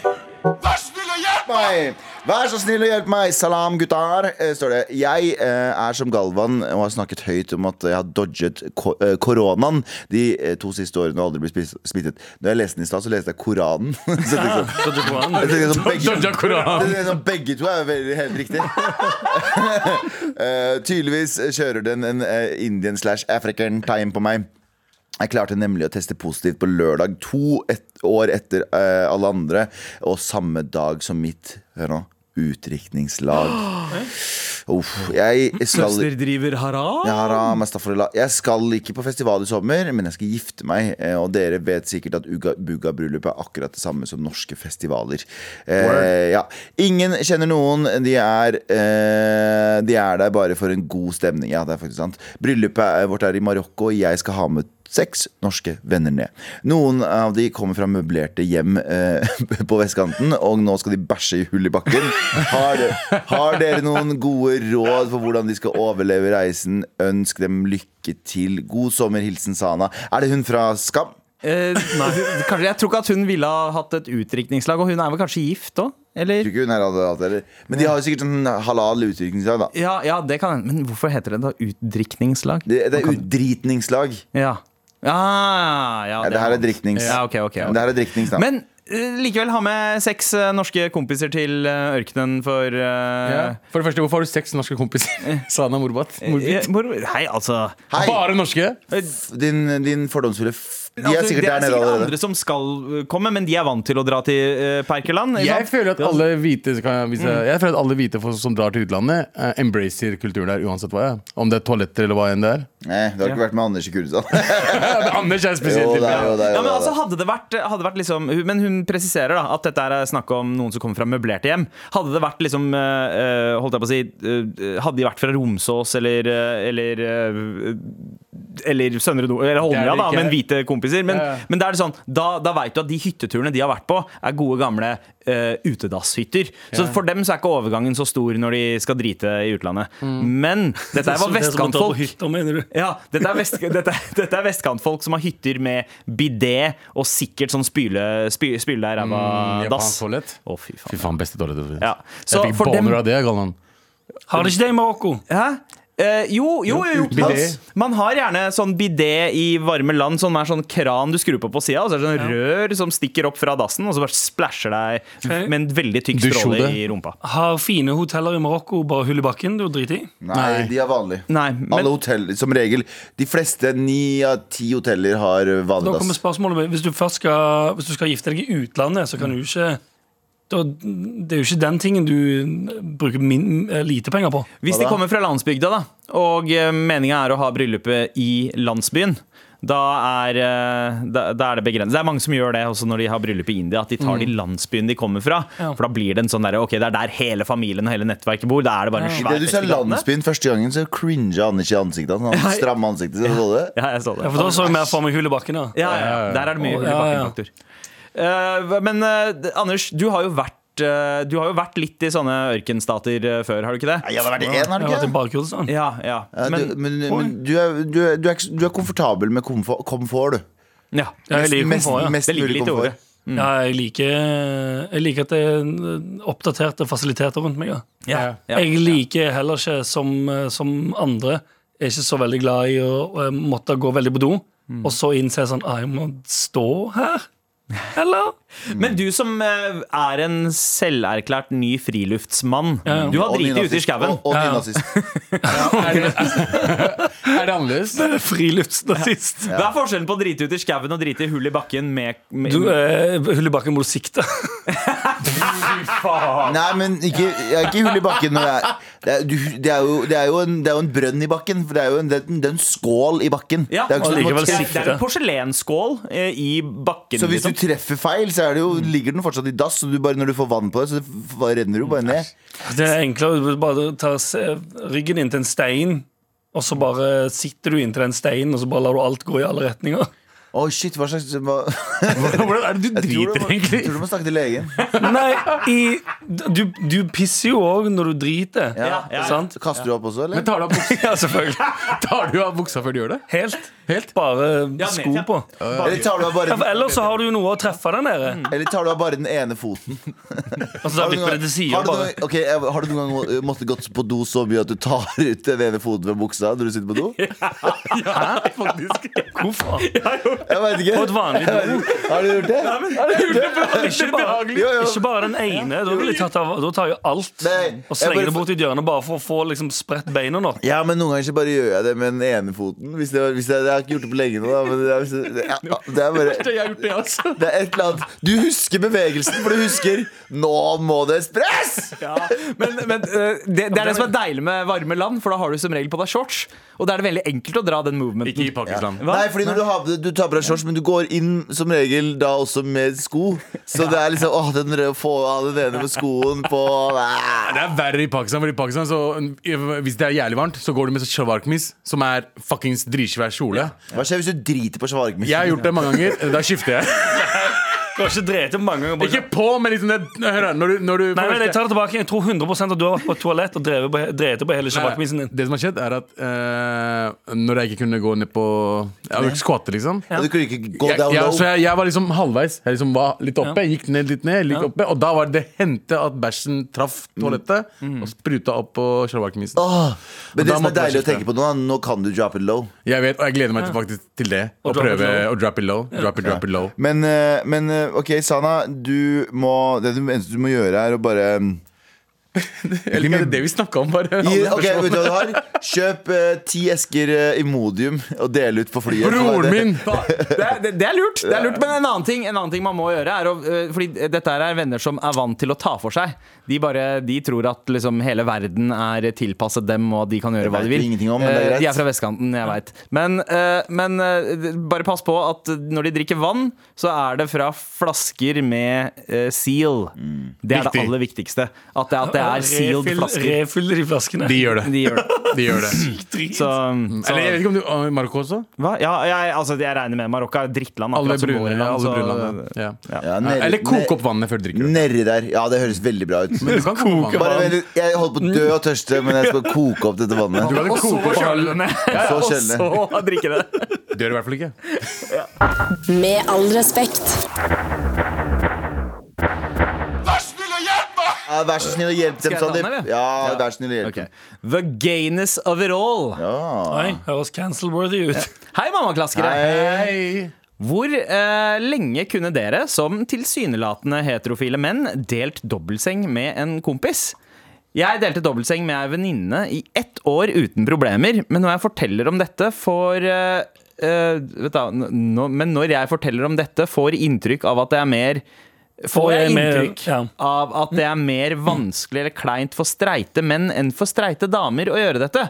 [SPEAKER 1] meg! Vær så snill og hjelp meg! Salam, guttar! eh, Står det. Jeg eh, er som Galvan og har snakket høyt om at jeg har dodget ko eh, koronaen de eh, to siste årene og aldri blitt spis- smittet. Når jeg leste den i stad, så leste jeg Koranen. så liksom,
[SPEAKER 2] Så du får
[SPEAKER 1] jeg
[SPEAKER 2] den.
[SPEAKER 1] tenkte sånn, begge,
[SPEAKER 3] Dodja Koran.
[SPEAKER 1] det er sånn, begge to er veldig helt riktig. Eh, tydeligvis kjører den en eh, Indian slash African time på meg. Jeg klarte nemlig å teste positivt på lørdag, to et år etter eh, alle andre, og samme dag som mitt Hør nå. Utdrikningslag. Uff. Jeg skal
[SPEAKER 5] driver haram.
[SPEAKER 1] ja, haram, astagfirullah. Jeg skal ikke på festival i sommer, men jeg skal gifte meg. eh, Og dere vet sikkert at Uga- Buga-bryllup er akkurat det samme som norske festivaler. Eh, ja. Ingen kjenner noen. De er, eh, de er der bare for en god stemning. Ja, det er faktisk sant. Bryllupet er- vårt er i Marokko, og jeg skal ha med seks norske venner ned. Noen av de kommer fra møblerte hjem eh, på vestkanten, og nå skal de bæsje i hull i bakken. Har, de, har dere noen gode råd for hvordan de skal overleve reisen? Ønsk dem lykke til. God sommer, hilsen Sana. Er det hun fra Skam?
[SPEAKER 5] Eh, kanskje, jeg tror ikke at hun ville ha hatt et utdrikningslag, og hun er vel kanskje gift òg? Eller?
[SPEAKER 1] Tror ikke hun er advokat, eller? Men de har jo sikkert en halal utdrikningslag, da.
[SPEAKER 5] Ja, ja, det kan hende. Men hvorfor heter det da utdrikningslag?
[SPEAKER 1] Det, det er utdritningslag.
[SPEAKER 5] Ja. Ah, ja,
[SPEAKER 1] Ja, det her er
[SPEAKER 5] han.
[SPEAKER 1] drikknings.
[SPEAKER 5] Ja, ok, ok, ok.
[SPEAKER 1] Det her er drikknings, da.
[SPEAKER 5] Men eh, likevel ha med seks eh, norske kompiser til eh, ørkenen for eh,
[SPEAKER 3] Ja. For det første, hvorfor har du seks norske kompiser? Sana Morbat.
[SPEAKER 5] eh,
[SPEAKER 3] Morbit.
[SPEAKER 5] hvor- Hei, altså.
[SPEAKER 1] Hei,
[SPEAKER 3] Bare norske?
[SPEAKER 1] din, din fordomsfulle f... De er
[SPEAKER 5] Altså,
[SPEAKER 1] sikkert
[SPEAKER 5] det er
[SPEAKER 1] der nede
[SPEAKER 5] sikkert
[SPEAKER 1] allerede.
[SPEAKER 5] andre som skal eh, komme, men de er vant til å dra til eh, Perkeland. ikke
[SPEAKER 3] Jeg
[SPEAKER 5] sant?
[SPEAKER 3] føler at alle hvite kan jeg vise, Jeg føler at alle hvite folk som drar til utlandet, eh, embracer kulturen der uansett hva. jeg er. Om det er toaletter eller hva enn det er.
[SPEAKER 1] Nei, du har ikke vært med Anders i Kurdistan.
[SPEAKER 3] Men Anders er
[SPEAKER 1] Jo,
[SPEAKER 3] spesielt
[SPEAKER 1] det er jo
[SPEAKER 3] tilfelle.
[SPEAKER 1] det. er
[SPEAKER 5] Ja,
[SPEAKER 1] jo
[SPEAKER 5] men
[SPEAKER 1] det.
[SPEAKER 5] altså hadde det vært, hadde vært liksom, men hun presiserer da at dette er snakk om noen som kommer fra møblerte hjem. Hadde det vært liksom eh, eh, Holdt jeg på å si eh, Hadde de vært fra Romsås eller eh, Eller, eh, eller Søndre Nord Eller
[SPEAKER 3] Det
[SPEAKER 5] Holmlia,
[SPEAKER 3] er
[SPEAKER 5] da,
[SPEAKER 3] det ikke.
[SPEAKER 5] men hvite kompiser. Men,
[SPEAKER 3] Ja, ja.
[SPEAKER 5] men da er det sånn da, da veit du at de hytteturene de har vært på, er gode gamle eh, utedasshytter. Så for dem så er ikke overgangen så stor når de skal drite i utlandet. Men dette
[SPEAKER 2] Det er
[SPEAKER 5] her var
[SPEAKER 2] som å dra på
[SPEAKER 5] vestkantfolk.
[SPEAKER 2] hytta, mener du?
[SPEAKER 5] Ja, dette er, vest, dette, dette er vestkantfolk som har hytter med bidé og sikkert sånn spyle, spy, spyle deg i ræva Mm,
[SPEAKER 3] Mm,
[SPEAKER 5] dass.
[SPEAKER 3] Japansk
[SPEAKER 5] Å,
[SPEAKER 3] toalett.
[SPEAKER 5] fy
[SPEAKER 3] Fy
[SPEAKER 5] faen.
[SPEAKER 3] faen, beste toalettet. som finnes.
[SPEAKER 5] Ja. Så
[SPEAKER 3] Jeg fikk
[SPEAKER 5] for dem-
[SPEAKER 3] boner av det, Galvan.
[SPEAKER 2] Har de ikke det i Marokko?
[SPEAKER 5] Hæ? Eh, jo, jo, jo, jo.
[SPEAKER 3] bidé.
[SPEAKER 5] Man har gjerne sånn bidé i varme land, som er sånn kran du skrur på på sida, og så er det sånn rør som stikker opp fra dassen, og så bare splæsjer deg
[SPEAKER 2] Ok.
[SPEAKER 5] med en veldig tykk
[SPEAKER 3] Dusjhode.
[SPEAKER 5] stråle i rumpa.
[SPEAKER 2] Har fine hoteller i Marokko bare hull i bakken? Det er jo drit i.
[SPEAKER 1] Nei,
[SPEAKER 3] Nei.
[SPEAKER 1] de er vanlige.
[SPEAKER 5] Nei, men-
[SPEAKER 1] Alle hotell, som regel De fleste, ni av ti hoteller har
[SPEAKER 2] Da
[SPEAKER 1] vanlig dass.
[SPEAKER 2] kommer spørsmålet mitt. Hvis du først skal, hvis du skal gifte deg i utlandet, så kan du ikke da, Det er jo ikke den tingen du bruker min, lite penger på.
[SPEAKER 5] Hvis
[SPEAKER 1] Hva
[SPEAKER 5] de
[SPEAKER 1] da?
[SPEAKER 5] kommer fra landsbygda, da, og meninga er å ha bryllupet i landsbyen, da er, eh, da, da er det begrenset. Det er mange som gjør det også når de har bryllup i India, at de tar de
[SPEAKER 1] Mm.
[SPEAKER 5] landsbyen de kommer fra.
[SPEAKER 2] Ja.
[SPEAKER 5] For da blir det en sånn derre Ok, det er der hele familien og hele nettverket bor. Da er det bare en svær
[SPEAKER 1] Idet du
[SPEAKER 5] fest
[SPEAKER 1] ser
[SPEAKER 5] i gatene.
[SPEAKER 1] landsbyen første gangen, så cringa Anders i ansiktet. hans. Han stramme ansiktet sitt, så du det?
[SPEAKER 5] Ja, jeg så det.
[SPEAKER 2] Ja, for da så jeg mer for meg hull i bakken. Ja.
[SPEAKER 5] Ja, ja, ja. Der er det mye
[SPEAKER 2] Ja,
[SPEAKER 5] hull i
[SPEAKER 2] ja, ja.
[SPEAKER 5] bakken-faktor. Eh, men eh, Anders, du har jo vært eh, Du har jo vært litt i sånne ørkenstater eh, før, har du ikke det?
[SPEAKER 1] Nei, jeg har vært én, har
[SPEAKER 2] Jeg
[SPEAKER 1] du
[SPEAKER 2] har vært i
[SPEAKER 1] ikke?
[SPEAKER 2] bare Kurdistan.
[SPEAKER 5] Ja, ja.
[SPEAKER 1] Ja,
[SPEAKER 5] Men,
[SPEAKER 1] du, men men du, er, du, er, du, er, ikke- du er komfortabel med komfort, komfort du.
[SPEAKER 5] ja.
[SPEAKER 2] Ja, jeg liker
[SPEAKER 1] mest,
[SPEAKER 2] komfort, ja.
[SPEAKER 1] mest
[SPEAKER 5] Det ligger
[SPEAKER 1] mulig
[SPEAKER 5] litt i
[SPEAKER 1] komfort.
[SPEAKER 5] ordet.
[SPEAKER 2] Ja, jeg, liker, jeg liker at det er oppdaterte fasiliteter rundt meg. Ja.
[SPEAKER 5] Ja, ja.
[SPEAKER 2] Jeg liker heller ikke, som, eh, som andre, jeg er ikke så veldig
[SPEAKER 3] Mm.
[SPEAKER 2] glad i å eh, måtte gå veldig på do, og så innse sånn ah, Jeg må stå her. Eller?
[SPEAKER 5] Men du som eh, er en selverklært ny friluftsmann.
[SPEAKER 2] Ja, ja.
[SPEAKER 5] Du har
[SPEAKER 1] Og
[SPEAKER 5] driti ute i
[SPEAKER 1] nynazist.
[SPEAKER 5] skauen.
[SPEAKER 1] Og, og nynazist.
[SPEAKER 3] Er det, er det annerledes?
[SPEAKER 2] Friluftsnazist.
[SPEAKER 5] Hva er forskjellen på å drite ut i skauen og drite i hull i bakken med, med
[SPEAKER 2] Du eh, hull i bakken må du sikte.
[SPEAKER 1] Nei, men ikke, jeg er ikke hull i bakken. Når jeg, det, er, du, det, er jo, det, er jo en, det er jo en brønn i bakken. For det er jo en, det er en, det er en skål i bakken.
[SPEAKER 5] Ja,
[SPEAKER 1] det er jo ikke
[SPEAKER 2] og
[SPEAKER 1] sånn at
[SPEAKER 2] likevel
[SPEAKER 1] man
[SPEAKER 5] det, er,
[SPEAKER 1] treffer-
[SPEAKER 5] det er en porselenskål eh, i bakken.
[SPEAKER 1] så hvis du
[SPEAKER 5] liksom.
[SPEAKER 1] treffer feil, så er det jo, ligger den fortsatt i dass. Så du bare, når du får vann på det, så det f- renner det jo bare ned.
[SPEAKER 2] Det er enklere å bare ta se- ryggen inn til en stein, og så bare sitter du inntil den steinen, og så bare lar du alt gå i alle retninger.
[SPEAKER 1] Å, shit, hva slags hva,
[SPEAKER 3] Hvordan er det du
[SPEAKER 1] Jeg tror du
[SPEAKER 3] driter
[SPEAKER 1] må-
[SPEAKER 3] egentlig?
[SPEAKER 1] jeg tror du må snakke til legen.
[SPEAKER 2] Nei, i, du, du pisser jo òg når du driter.
[SPEAKER 5] Ja, ja.
[SPEAKER 2] Sant?
[SPEAKER 1] Så kaster du opp også, eller?
[SPEAKER 3] Men tar du, av buksa,
[SPEAKER 2] Ja, selvfølgelig.
[SPEAKER 3] tar du av buksa før du gjør det?
[SPEAKER 2] Helt.
[SPEAKER 3] Helt?
[SPEAKER 2] Bare sko
[SPEAKER 5] ned, ja.
[SPEAKER 2] på.
[SPEAKER 1] Eller tar du av bare,
[SPEAKER 2] Ja, for Ellers så har du jo noe å treffe der nede.
[SPEAKER 5] Mm.
[SPEAKER 1] eller tar du av bare den ene foten?
[SPEAKER 2] Og så
[SPEAKER 1] Har du
[SPEAKER 2] vipper
[SPEAKER 1] noen
[SPEAKER 2] det
[SPEAKER 1] har
[SPEAKER 2] til siden
[SPEAKER 1] du noen
[SPEAKER 2] bare.
[SPEAKER 1] gang- ok, jeg- har du noen gang må- måttet gått på do så mye at du tar ut den ene foten ved buksa når du sitter på do? Jeg
[SPEAKER 2] Hvorfor?
[SPEAKER 1] vet ikke.
[SPEAKER 2] På et vanlig do.
[SPEAKER 1] Har du gjort det?
[SPEAKER 2] Ikke bare,
[SPEAKER 1] Jo, jo.
[SPEAKER 2] ikke bare den ene. Da, blir det tatt av, da tar jeg alt
[SPEAKER 1] Nei,
[SPEAKER 2] og
[SPEAKER 1] jeg bare-
[SPEAKER 2] slenger det bort i et hjørne bare for å få liksom, spredt beina nå.
[SPEAKER 1] Ja, men noen ganger så bare gjør jeg det med den ene foten. Hvis det, var- hvis det, jeg har ikke gjort det på lenge nå, da. Men det, er, hvis det, ja, det er bare
[SPEAKER 3] Jeg har gjort det, altså.
[SPEAKER 1] Det er et eller annet Du husker bevegelsen, for du husker Nå må det spres!
[SPEAKER 5] Ja, men, men eh, det, det er det som er deilig med varme land, for da har du som regel på deg shorts. Og da er det veldig enkelt å dra den movementen.
[SPEAKER 3] Ikke i Pakistan.
[SPEAKER 5] Hva?
[SPEAKER 1] Nei, fordi når du, har, du tar på deg shorts, men du går inn som regel da også med sko. Så det er liksom åh, den røde, få av den ene med skoen på Nei.
[SPEAKER 3] Det er verre i Pakistan, for i Pakistan så, hvis det er jævlig varmt, så går du med sånn shawarkmis, som er fuckings dritsvær kjole.
[SPEAKER 1] Hva skjer hvis du driter på shawarma?
[SPEAKER 3] Jeg har gjort det mange ganger. Da skifter jeg.
[SPEAKER 2] Du har ikke drevet det mange ganger.
[SPEAKER 3] Ikke på, men liksom det, hør her, når du, når du
[SPEAKER 2] Nei, men jeg tar det tilbake. Jeg tror 100 at du har vært på et toalett og drevet på, drevet på hele sjabakkmisen din.
[SPEAKER 3] Eh, Det som har skjedd, er at eh, når jeg ikke kunne gå ned på Jeg vil ikke skvatte, liksom.
[SPEAKER 1] Du kunne ikke gå
[SPEAKER 3] Jeg,
[SPEAKER 1] down
[SPEAKER 3] jeg,
[SPEAKER 1] low.
[SPEAKER 3] så jeg, jeg var liksom halvveis. Jeg liksom var litt oppe, gikk ned litt ned, litt
[SPEAKER 2] Ja.
[SPEAKER 3] oppe Og da var det hendte at bæsjen traff
[SPEAKER 1] Mm.
[SPEAKER 3] toalettet og spruta opp på sjawarkmisen.
[SPEAKER 1] Åh, men det
[SPEAKER 3] da
[SPEAKER 1] som er
[SPEAKER 3] måtte man
[SPEAKER 1] deilig å
[SPEAKER 3] skifte.
[SPEAKER 1] tenke på nå, er nå kan du drop it low.
[SPEAKER 3] Jeg vet, og jeg gleder meg til, faktisk til det. Å
[SPEAKER 2] drop it
[SPEAKER 3] prøve å drop it low. Drop it, drop it low.
[SPEAKER 1] Men, eh, men eh, OK, Sana. Du må Det du- eneste du må gjøre, er å bare mm,
[SPEAKER 3] Eller det er det vi snakka om, bare.
[SPEAKER 1] Gi, ok, vet du hva du har? Kjøp eh, ti esker eh, Imodium og del ut på flyet.
[SPEAKER 3] Broren min!
[SPEAKER 5] Det, er- det, det er lurt. Det er lurt. Men en annen ting, en annen ting man må gjøre er å, eh, Fordi dette her er venner som er vant til å ta for seg. De, bare, de tror at liksom hele verden er tilpasset dem, og at de kan gjøre hva
[SPEAKER 1] vet
[SPEAKER 5] de
[SPEAKER 1] vi
[SPEAKER 5] vil.
[SPEAKER 1] ingenting om, men det er
[SPEAKER 5] Eh,
[SPEAKER 1] greit.
[SPEAKER 5] De er fra vestkanten, jeg veit. Men, eh, men eh, bare pass på at når de drikker vann, så er det fra flasker med eh, seal.
[SPEAKER 1] Mm.
[SPEAKER 5] Det er
[SPEAKER 3] Viktig.
[SPEAKER 5] det aller viktigste. At det, at det er sealed flasker.
[SPEAKER 2] Refyller de flaskene.
[SPEAKER 3] De gjør det.
[SPEAKER 5] De gjør det.
[SPEAKER 3] De gjør det.
[SPEAKER 2] Drit.
[SPEAKER 5] Så, så
[SPEAKER 3] Eller jeg vet ikke om du Å, Marokko også?
[SPEAKER 5] hva? Ja, jeg, altså, jeg regner med Marokko er et drittland.
[SPEAKER 3] Alle
[SPEAKER 5] akkurat som
[SPEAKER 3] brune
[SPEAKER 5] våre land,
[SPEAKER 3] alle
[SPEAKER 5] så-
[SPEAKER 3] brune land. Ja. Ja.
[SPEAKER 1] Ja, nedi-
[SPEAKER 3] Eller koke opp vannet før
[SPEAKER 1] ned-
[SPEAKER 3] du drikker det.
[SPEAKER 1] Nedi der. Ja, det høres veldig bra ut.
[SPEAKER 3] Du kan koke opp
[SPEAKER 1] Bare,
[SPEAKER 3] vann.
[SPEAKER 1] vent litt, jeg holdt på å dø av tørste, men jeg skal koke opp dette vannet.
[SPEAKER 3] Du kan ikke koke opp vann.
[SPEAKER 1] Så
[SPEAKER 5] Og
[SPEAKER 1] sjelden.
[SPEAKER 5] så drikke det.
[SPEAKER 3] Det gjør du i hvert fall ikke.
[SPEAKER 6] Med all respekt.
[SPEAKER 1] Ja, vær så snill og hjelp dem,
[SPEAKER 5] jeg ta den,
[SPEAKER 1] Sandeep.
[SPEAKER 5] eller?
[SPEAKER 1] Ja, vær så snill og hjelp
[SPEAKER 5] Ok.
[SPEAKER 1] dem.
[SPEAKER 5] The gayness of it all.
[SPEAKER 1] Ja.
[SPEAKER 2] Nei, høres cancel-worthy ut.
[SPEAKER 5] Hei, mammaklaskere.
[SPEAKER 1] Hei.
[SPEAKER 5] Hvor eh, lenge kunne dere, som tilsynelatende heterofile menn, delt dobbeltseng med en kompis? Jeg delte dobbeltseng med ei venninne i ett år uten problemer, men når jeg forteller om dette, får eh, eh, vet da, n- nå- Men når jeg forteller om dette, får inntrykk av at det er mer Får
[SPEAKER 2] Og
[SPEAKER 5] jeg
[SPEAKER 2] jeg mer-
[SPEAKER 5] inntrykk
[SPEAKER 2] ja.
[SPEAKER 5] av at det er mer vanskelig eller kleint for streite menn enn for streite damer å gjøre dette?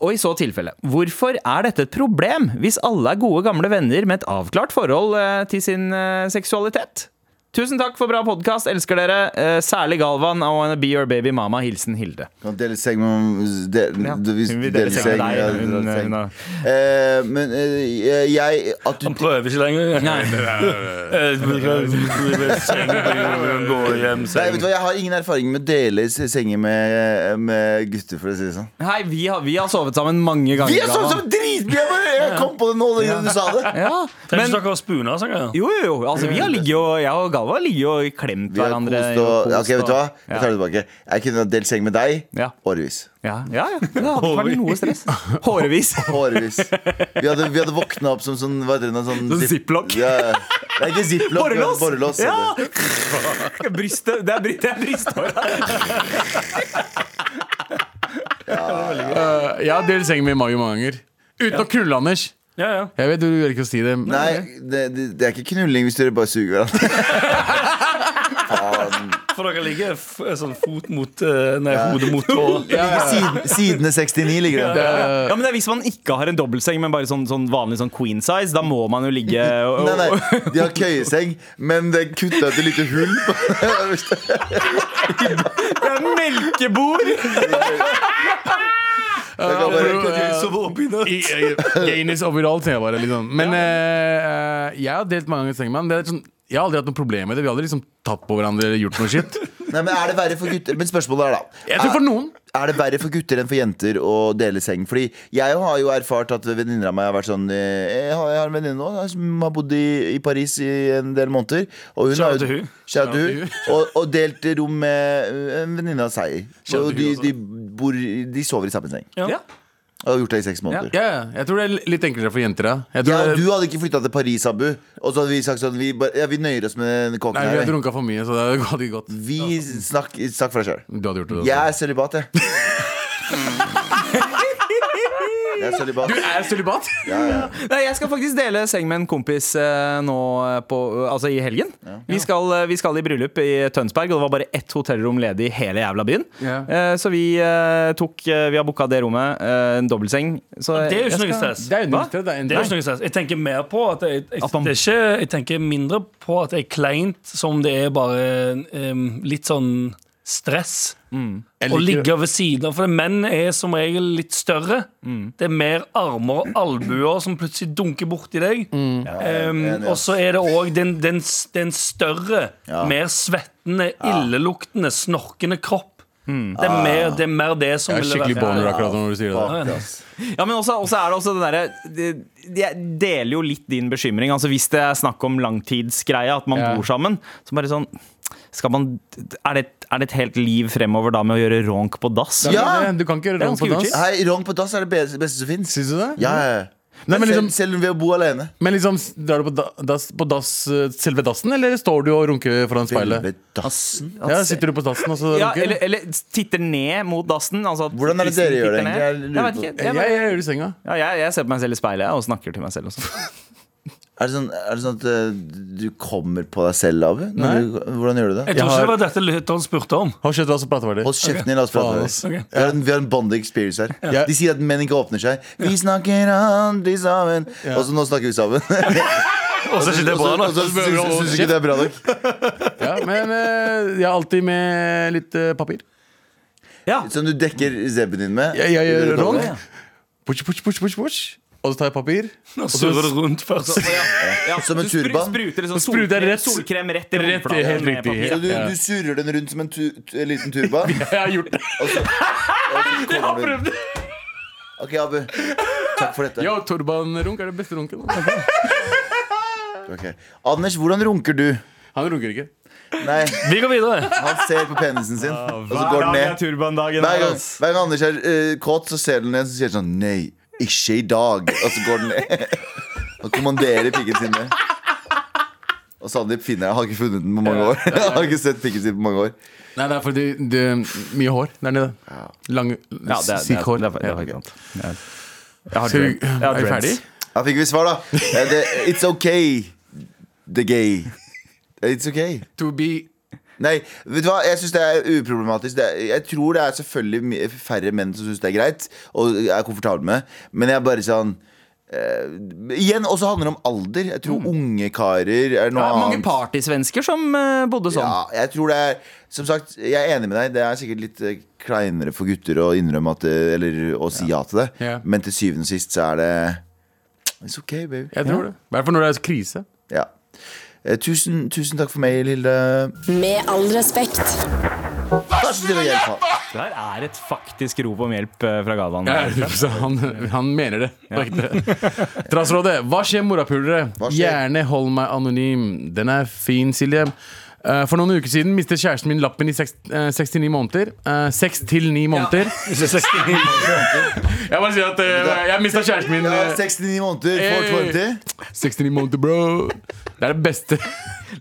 [SPEAKER 5] Og i så tilfelle, hvorfor er dette et problem hvis alle er gode gamle venner med et avklart forhold eh, til sin eh, seksualitet? Tusen takk for bra podkast, elsker dere. Eh, særlig Galvan og en Be Your Baby Mama. Hilsen Hilde.
[SPEAKER 1] Kan dele seng med del,
[SPEAKER 5] Ja,
[SPEAKER 1] du- hvis
[SPEAKER 5] hun
[SPEAKER 1] du
[SPEAKER 5] vil
[SPEAKER 1] deler
[SPEAKER 5] dele seng med
[SPEAKER 1] seng,
[SPEAKER 5] deg,
[SPEAKER 1] ja,
[SPEAKER 5] hun-
[SPEAKER 1] du deler
[SPEAKER 5] hun
[SPEAKER 1] seng.
[SPEAKER 5] har-
[SPEAKER 1] Eh, Men eh, jeg At du
[SPEAKER 2] Han prøver ikke lenger. Eh, Nei. Gå hjem,
[SPEAKER 1] Nei, vet
[SPEAKER 2] seng.
[SPEAKER 1] du hva, Jeg har ingen erfaring med å dele s- senger med, med gutter, for å si det sånn.
[SPEAKER 5] Hei, vi har, vi har sovet sammen mange ganger.
[SPEAKER 1] Vi er sånn
[SPEAKER 5] Galvan.
[SPEAKER 1] som dritmye! Jeg bare- Jeg kom på det nå da du sa det.
[SPEAKER 5] ja,
[SPEAKER 2] Trenger
[SPEAKER 5] men,
[SPEAKER 2] ikke dere å spune og sånn?
[SPEAKER 5] Jo, jo, jo. Altså, vi har ligget og, jeg og Galva ligger jo i klem til
[SPEAKER 1] Vi har
[SPEAKER 5] hverandre.
[SPEAKER 1] kost
[SPEAKER 5] jo,
[SPEAKER 1] og
[SPEAKER 5] kost
[SPEAKER 1] Ok, vet du hva? Jeg tar
[SPEAKER 5] Ja.
[SPEAKER 1] det tilbake. Jeg kunne ha delt seng med deg
[SPEAKER 5] Ja.
[SPEAKER 1] årevis.
[SPEAKER 5] Ja, ja, ja. Det hadde ikke vært noe stress. Hårevis.
[SPEAKER 1] Årevis. Vi hadde, vi hadde våkna opp som sånn Hva heter det? noe Sånn,
[SPEAKER 5] Sånn
[SPEAKER 1] zip-
[SPEAKER 5] ziplock.
[SPEAKER 1] Ja, ja. Det er ikke ziplock. det er
[SPEAKER 5] Borrelås!
[SPEAKER 1] Borrelås
[SPEAKER 5] ja.
[SPEAKER 1] heter det.
[SPEAKER 5] Brystet. Det er, bry- det er brysthår.
[SPEAKER 3] Eh, jeg har delt seng med mange, mange ganger. Uten å knulle, Anders.
[SPEAKER 2] Ja, ja.
[SPEAKER 3] Jeg vet du gjør ikke å si det. Eh,
[SPEAKER 1] Nei, det, det, det er ikke knulling hvis dere bare suger hverandre. Faen.
[SPEAKER 2] For dere ligger f sånn fot mot eh, Nei, hodet mot tå.
[SPEAKER 1] Siden, sidene 69 ligger den.
[SPEAKER 5] Ja, men det er Hvis man ikke har en dobbeltseng, men bare sånn, sånn vanlig sånn queen size, da må man jo ligge Eh, og,
[SPEAKER 1] Nei, nei, de har køyeseng, men det er kutta ut et lite hull. på-
[SPEAKER 5] Det er melkebord!
[SPEAKER 1] Jeg kan bare-
[SPEAKER 3] eh, I- i- Gaines overalt, sier jeg bare. Liksom. Men eh, eh, jeg har delt mange ganger seng med han. Det er Sånn, jeg har aldri hatt noe problem med det. Vi har aldri liksom tatt på hverandre eller gjort noe skitt.
[SPEAKER 1] Nei, men er det verre for gutter? Men spørsmålet er da
[SPEAKER 3] Jeg tror for noen
[SPEAKER 1] Er det verre for gutter enn for jenter å dele seng? Fordi jeg har jo erfart at venninner av meg har vært sånn eh, Jeg har, jeg har en venninne nå da, som har bodd i, i Paris i en del måneder. Og hun
[SPEAKER 2] Shout
[SPEAKER 1] har jo-
[SPEAKER 2] out til hun.
[SPEAKER 1] Shout out til hun. Og, og delt rom med eh, en venninne av seg.
[SPEAKER 2] Shout out
[SPEAKER 1] Og de,
[SPEAKER 2] til hun
[SPEAKER 1] de, bor, de sover i samme seng.
[SPEAKER 2] Ja.
[SPEAKER 5] Ja.
[SPEAKER 1] Og har gjort det i seks måneder.
[SPEAKER 3] Ja, ja, jeg tror det er litt enklere for jenter. Ja.
[SPEAKER 1] Ja,
[SPEAKER 3] Jeg tror
[SPEAKER 1] og
[SPEAKER 3] det,
[SPEAKER 1] du hadde ikke flytta til Paris, Abu. Og så hadde vi sagt sånn Vi, bare, ja, vi nøyer oss med den kåken
[SPEAKER 3] nei, vi har
[SPEAKER 1] her. vi.
[SPEAKER 3] drunka for mye, så det hadde ikke gått.
[SPEAKER 1] Vi snakk, snakk for deg sjøl.
[SPEAKER 3] Du hadde gjort det. også.
[SPEAKER 1] Jeg er sølibat, jeg. Jeg er sølibat.
[SPEAKER 3] Du er sølibat?
[SPEAKER 1] Ja, ja.
[SPEAKER 5] Nei, jeg skal faktisk dele seng med en kompis eh, nå eh, på, altså i helgen. Vi, skal, eh, vi skal i bryllup i Tønsberg, og det var bare ett hotellrom ledig i hele jævla byen.
[SPEAKER 3] Ja.
[SPEAKER 5] Eh, så vi eh, tok eh, Vi har booka det rommet. eh, en dobbeltseng. Så
[SPEAKER 2] Det er jo
[SPEAKER 5] jeg
[SPEAKER 2] ikke noe
[SPEAKER 5] skal-
[SPEAKER 2] stress.
[SPEAKER 3] Det er jo
[SPEAKER 5] Hva?
[SPEAKER 3] nøytralt, det er en-
[SPEAKER 2] Det er jo ikke noe stress. Jeg tenker mer på at jeg, jeg,
[SPEAKER 5] At man-
[SPEAKER 2] det er ikke, jeg tenker mindre på at det er kleint, som det er bare em, litt sånn stress.
[SPEAKER 3] Jeg
[SPEAKER 2] Å
[SPEAKER 3] liker-
[SPEAKER 2] ligge ved siden av. For menn er som regel litt større. Det er mer armer og albuer som plutselig dunker borti deg. Em,
[SPEAKER 1] enig, ass.
[SPEAKER 2] og så er det òg den, den, s- den større,
[SPEAKER 1] Ja.
[SPEAKER 2] mer svettende, illeluktende, snorkende kropp. Det, er mer, det er mer det som
[SPEAKER 3] Jeg er
[SPEAKER 2] ville
[SPEAKER 3] skikkelig
[SPEAKER 2] vært-
[SPEAKER 3] boner akkurat når du sier det.
[SPEAKER 1] Fuck, ass.
[SPEAKER 5] Ja, men også, også er det også den derre det- Jeg deler jo litt din bekymring. Altså Hvis det er snakk om langtidsgreie, at man
[SPEAKER 3] Ja.
[SPEAKER 5] bor sammen, så bare sånn skal man, er, det, er det et helt liv fremover da med å gjøre ronk på dass?
[SPEAKER 3] Det er
[SPEAKER 1] Ja!
[SPEAKER 3] det. Du kan ikke
[SPEAKER 5] er
[SPEAKER 3] rann på
[SPEAKER 5] ganske
[SPEAKER 3] dans.
[SPEAKER 1] Hei, Ronk på dass er det beste, beste som fins.
[SPEAKER 3] Syns du det?
[SPEAKER 1] Ja, ja, ja.
[SPEAKER 3] Nei, men liksom-
[SPEAKER 1] selv, selv ved å bo alene.
[SPEAKER 3] Men liksom, drar du på, da, dass, på dass, eh, selve dassen, eller står du og runker foran speilet?
[SPEAKER 1] Ved dassen.
[SPEAKER 3] Ja, Sitter du på dassen og så
[SPEAKER 5] Ja,
[SPEAKER 3] runker?
[SPEAKER 5] eller, eller titter ned mot dassen. Altså at
[SPEAKER 1] Hvordan er det dere
[SPEAKER 5] tissen
[SPEAKER 1] gjør det
[SPEAKER 5] titter ned.
[SPEAKER 1] egentlig? Jeg lurer
[SPEAKER 5] Jeg vet
[SPEAKER 1] på.
[SPEAKER 5] ikke.
[SPEAKER 3] jeg,
[SPEAKER 5] Jeg, bare-
[SPEAKER 3] jeg gjør det i senga.
[SPEAKER 5] ja, jeg, jeg ser på meg selv i speilet jeg, og snakker til meg selv. Også.
[SPEAKER 1] Er, det sånn, er det sånn at eh, du kommer på deg selv, Abu? Når
[SPEAKER 3] Nei.
[SPEAKER 1] Du, hvordan gjør du det?
[SPEAKER 2] Jeg tror ikke
[SPEAKER 3] Jeg
[SPEAKER 2] det
[SPEAKER 3] har-
[SPEAKER 2] var dette lytteren spurte om.
[SPEAKER 3] Hold kjeft, la oss prate ferdig.
[SPEAKER 1] Hold kjeften din, la oss prate.
[SPEAKER 3] Faen,
[SPEAKER 1] om det.
[SPEAKER 3] ass.
[SPEAKER 2] Ok.
[SPEAKER 1] Vi har en, vi har en bond experience her.
[SPEAKER 3] Ja.
[SPEAKER 1] De sier at menn ikke åpner seg. Vi snakker aldri sammen. Og så nå snakker vi sammen.
[SPEAKER 2] Og så er ikke det bra
[SPEAKER 1] Og
[SPEAKER 2] nok.
[SPEAKER 1] så syns syns du ikke det er bra nok.
[SPEAKER 3] Ja, men eh, jeg er alltid med litt eh, papir.
[SPEAKER 5] Ja.
[SPEAKER 1] Som du dekker zebben din med.
[SPEAKER 3] Jeg, jeg gjør
[SPEAKER 1] Rolle.
[SPEAKER 3] ronk. Push, push, push, push, push. Og så tar jeg papir.
[SPEAKER 2] Nå surrer det rundt først.
[SPEAKER 5] Ja,
[SPEAKER 1] Som en
[SPEAKER 5] du spru-
[SPEAKER 1] turban.
[SPEAKER 5] Spruter liksom
[SPEAKER 3] Så spruter jeg
[SPEAKER 5] solkrem,
[SPEAKER 3] rett-
[SPEAKER 5] solkrem rett i
[SPEAKER 3] Rett i-
[SPEAKER 5] håndflaten
[SPEAKER 3] helt
[SPEAKER 5] med
[SPEAKER 3] riktig.
[SPEAKER 5] papir.
[SPEAKER 1] Så du, du surrer den rundt som en tu, tu, en liten turban?
[SPEAKER 3] Jeg har gjort det.
[SPEAKER 1] Jeg har prøvd det! Ok, Abu. Takk for dette.
[SPEAKER 3] Ja, turbanrunk er det beste runken.
[SPEAKER 1] Ok. Anders, hvordan runker du?
[SPEAKER 3] Han runker ikke.
[SPEAKER 1] Nei,
[SPEAKER 2] Vi går videre.
[SPEAKER 1] han ser på penisen sin, og så
[SPEAKER 5] Hver
[SPEAKER 1] går den
[SPEAKER 5] dag er
[SPEAKER 1] ned.
[SPEAKER 5] turbandagen.
[SPEAKER 1] Hver gang,
[SPEAKER 5] altså.
[SPEAKER 1] hver gang Anders er eh, kåt, så ser den ned og sier den sånn Nei, ikke i dag. Og så går den ned. Og kommanderer pikken sin ned. Og Sandeep finner jeg, har ikke funnet den på mange år. Han har ikke sett pikken sin på mange år.
[SPEAKER 3] Nei, det er fordi det er mye hår der nede. Lang,
[SPEAKER 5] Ja, det er, det er,
[SPEAKER 3] sykt hår.
[SPEAKER 5] det er, det er, faktisk sant. Jeg- Jeg har
[SPEAKER 3] Skal vi-
[SPEAKER 5] dreads. Jeg har
[SPEAKER 3] er vi
[SPEAKER 5] dreads.
[SPEAKER 3] ferdig?
[SPEAKER 1] Da fikk vi svar, da. Eh, det- It's okay, the gay. It's okay.
[SPEAKER 3] To be
[SPEAKER 1] Nei, vet du hva? Jeg syns det er uproblematisk. Det er, jeg tror det er selvfølgelig mi- færre menn som syns det er greit, og er komfortable med det. Men jeg er bare sånn eh, Igjen, også handler det om alder. Jeg tror unge karer er
[SPEAKER 5] Det
[SPEAKER 1] noe
[SPEAKER 5] er mange
[SPEAKER 1] annet.
[SPEAKER 5] partysvensker som eh, bodde sånn.
[SPEAKER 1] Ja, jeg tror det er Som sagt, jeg er enig med deg. Det er sikkert litt eh, kleinere for gutter å innrømme at det, Eller å si ja til det.
[SPEAKER 3] Ja.
[SPEAKER 1] Men til syvende og sist så er det It's okay, baby.
[SPEAKER 3] Jeg tror det. I hvert fall når det er krise.
[SPEAKER 1] Ja. Eh, Tusen, tusen takk for mail, Hilde.
[SPEAKER 6] Med all respekt.
[SPEAKER 1] Vær så snill å hjelpe.
[SPEAKER 5] Det her er et faktisk rop om hjelp eh, fra Galvan.
[SPEAKER 3] Ja, så han, han mener det. på ekte. Trassrådet. Hva skjer, morapulere?
[SPEAKER 1] Hva skjer?
[SPEAKER 3] Gjerne hold meg anonym. Den er fin, Silje. Eh, For noen uker siden mistet kjæresten min lappen i seks- eh, seks til ni måneder. Eh, Seks til ni måneder. Jeg bare sier at eh, jeg mista kjæresten min.
[SPEAKER 1] Ja,
[SPEAKER 3] eh,
[SPEAKER 1] 69 måneder,
[SPEAKER 3] Hey.
[SPEAKER 1] 420.
[SPEAKER 3] Seks til ni måneder, bro. Det er det beste.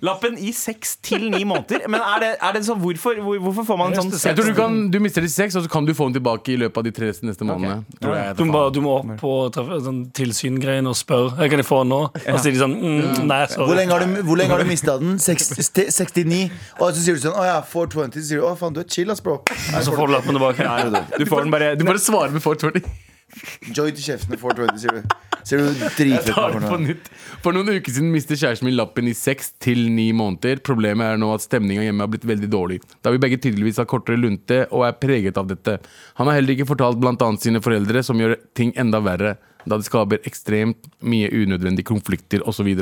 [SPEAKER 5] Lappen i seks til ni måneder. Men er det, er det sånn, hvorfor, hvor, hvorfor får man sånn
[SPEAKER 3] Jeg tror du, kan, du mister de seks, og så kan du få den tilbake i løpet av de tre neste månedene. Tror jeg,
[SPEAKER 2] Du må, bare- du må opp på traf- sånn tilsyngreiene og spørre Hva kan jeg få nå. Og så sier de sånn mm, Nei,
[SPEAKER 1] Hvor
[SPEAKER 2] sorry.
[SPEAKER 1] lenge har du, hvor lenge har du mista den? Seks- ste- 69. Og så sier du sånn Å ja, 420. Så sier du å faen, du er chill, ass, bro.
[SPEAKER 2] Og så får du lappen tilbake.
[SPEAKER 5] Du får den bare
[SPEAKER 3] Du bare svarer med 420.
[SPEAKER 1] Joy til kjeften, 420, sier du. Ser du dritfett
[SPEAKER 3] Jeg tar
[SPEAKER 1] på
[SPEAKER 3] det på
[SPEAKER 1] porno.
[SPEAKER 3] nytt. For noen uker siden mistet kjæresten min lappen i seks til ni måneder. Problemet er nå at stemninga hjemme har blitt veldig dårlig, da vi begge tydeligvis har kortere lunte og er preget av dette. Han har heller ikke fortalt bl.a. sine foreldre, som gjør ting enda verre, da det skaper ekstremt mye unødvendige konflikter osv.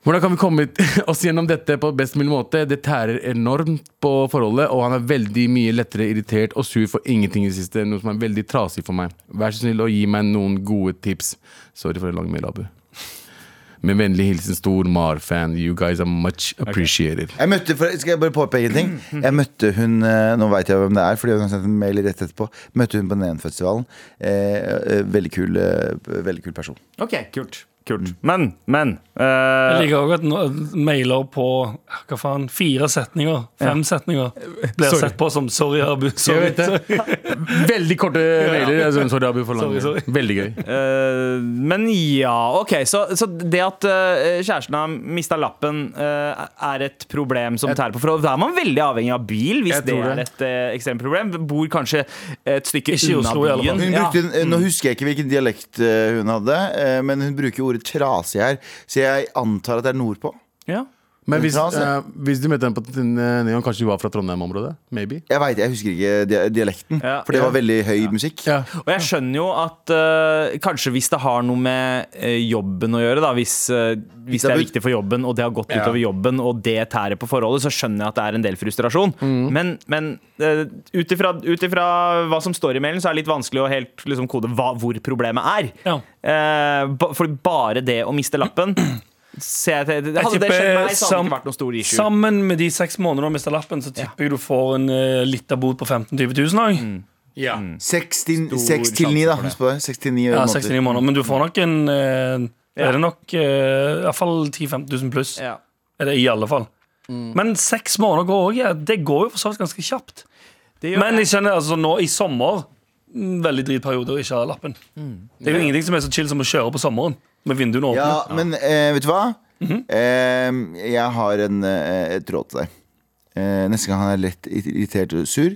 [SPEAKER 3] Hvordan kan vi komme oss gjennom dette på best mulig måte? Det tærer enormt på forholdet, og han er veldig mye lettere irritert og sur for ingenting i det siste, noe som er veldig trasig for meg. Vær så snill og gi meg noen gode tips. Sorry for en lang mail, Abu. Med vennlig hilsen stor Mar-fan. You guys are much appreciated.
[SPEAKER 1] Jeg møtte, for, skal jeg bare påpeke en ting? Jeg møtte hun eh, Nå veit jeg hvem det er, fordi hun har sendt en mail rett etterpå. Møtte hun på Nenfestivalen. Eh, eh, veldig, kul, eh, veldig kul person.
[SPEAKER 5] Ok, kult. kult. Men, men eh,
[SPEAKER 2] Jeg liker òg at nå- mailer på hva faen, fire setninger, fem setninger blir
[SPEAKER 3] Sorry.
[SPEAKER 2] sett på som 'sorry, Abu'.
[SPEAKER 3] Jeg
[SPEAKER 2] Sorry.
[SPEAKER 3] vet det. Veldig korte mailer. Altså, Sorry, Abu, for lang.
[SPEAKER 2] Sorry, sorry.
[SPEAKER 3] Veldig gøy.
[SPEAKER 5] Eh, men ja, ok. Så, så det at eh, kjæresten har mista lappen, eh, er et problem som tærer på forholdet. Da er man veldig avhengig av bil, hvis
[SPEAKER 3] Jeg
[SPEAKER 5] det
[SPEAKER 3] tror
[SPEAKER 5] er
[SPEAKER 3] det.
[SPEAKER 5] et eh, ekstremt problem. Bor kanskje et stykke
[SPEAKER 2] Ikke i
[SPEAKER 5] unna
[SPEAKER 2] Oslo, i alle fall.
[SPEAKER 5] byen.
[SPEAKER 1] Hun
[SPEAKER 5] Ja.
[SPEAKER 1] brukte, eh, Nå
[SPEAKER 3] Mm.
[SPEAKER 1] husker jeg ikke hvilken dialekt eh, hun hadde, eh, men hun bruker ordet trasig her, så jeg antar at det er nordpå.
[SPEAKER 5] Ja.
[SPEAKER 3] Men hvis,
[SPEAKER 1] Trasig.
[SPEAKER 3] eh, hvis du møtte henne på eh, Neon, kanskje du var fra Trondheim-området? Maybe?
[SPEAKER 1] Jeg vet, jeg husker ikke dia- dialekten,
[SPEAKER 5] Ja.
[SPEAKER 1] for det var veldig høy musikk.
[SPEAKER 3] Ja.
[SPEAKER 5] Og jeg skjønner jo at eh, kanskje hvis det har noe med eh, jobben å gjøre, da, hvis, eh, hvis det er viktig for jobben, og det har gått utover jobben, og det tærer på forholdet, så skjønner jeg at det er en del frustrasjon. Men, men uh, ut ifra ut ifra hva som står i mailen, så er det litt vanskelig å helt liksom, kode hva, hvor problemet er.
[SPEAKER 2] Ja.
[SPEAKER 5] Eh, ba, for bare det å miste lappen ser jeg til, Hadde det skjedd meg, så hadde det ikke vært noe stor issue.
[SPEAKER 2] sammen med de seks månedene du har mista lappen, så tipper jeg du får en uh, lita bot på 15 000-20 000 òg.
[SPEAKER 5] Mm.
[SPEAKER 3] Ja.
[SPEAKER 2] Mm.
[SPEAKER 1] 6 til 9, da. Husk på det. 6 til 9
[SPEAKER 2] Ja,
[SPEAKER 1] måneder.
[SPEAKER 2] 69 måneder. Men du får nok en eh, Er det nok eh, i hvert fall 10 000-15 000 pluss?
[SPEAKER 5] Ja.
[SPEAKER 2] Er det i alle fall.
[SPEAKER 1] Mm.
[SPEAKER 2] Men seks måneder går òg. Ja, det går jo for så vidt ganske kjapt.
[SPEAKER 5] Det gjør
[SPEAKER 2] Men
[SPEAKER 5] jeg.
[SPEAKER 2] jeg kjenner altså nå i sommer mm, Veldig drit periode å ikke ha lappen. Det er jo ingenting som er så chill som å kjøre på sommeren med vinduene
[SPEAKER 1] Mm.
[SPEAKER 2] åpne.
[SPEAKER 1] Ja, men eh, vet du hva? eh, jeg har en, eh, et råd til deg. Eh, neste gang han er lett irritert og sur,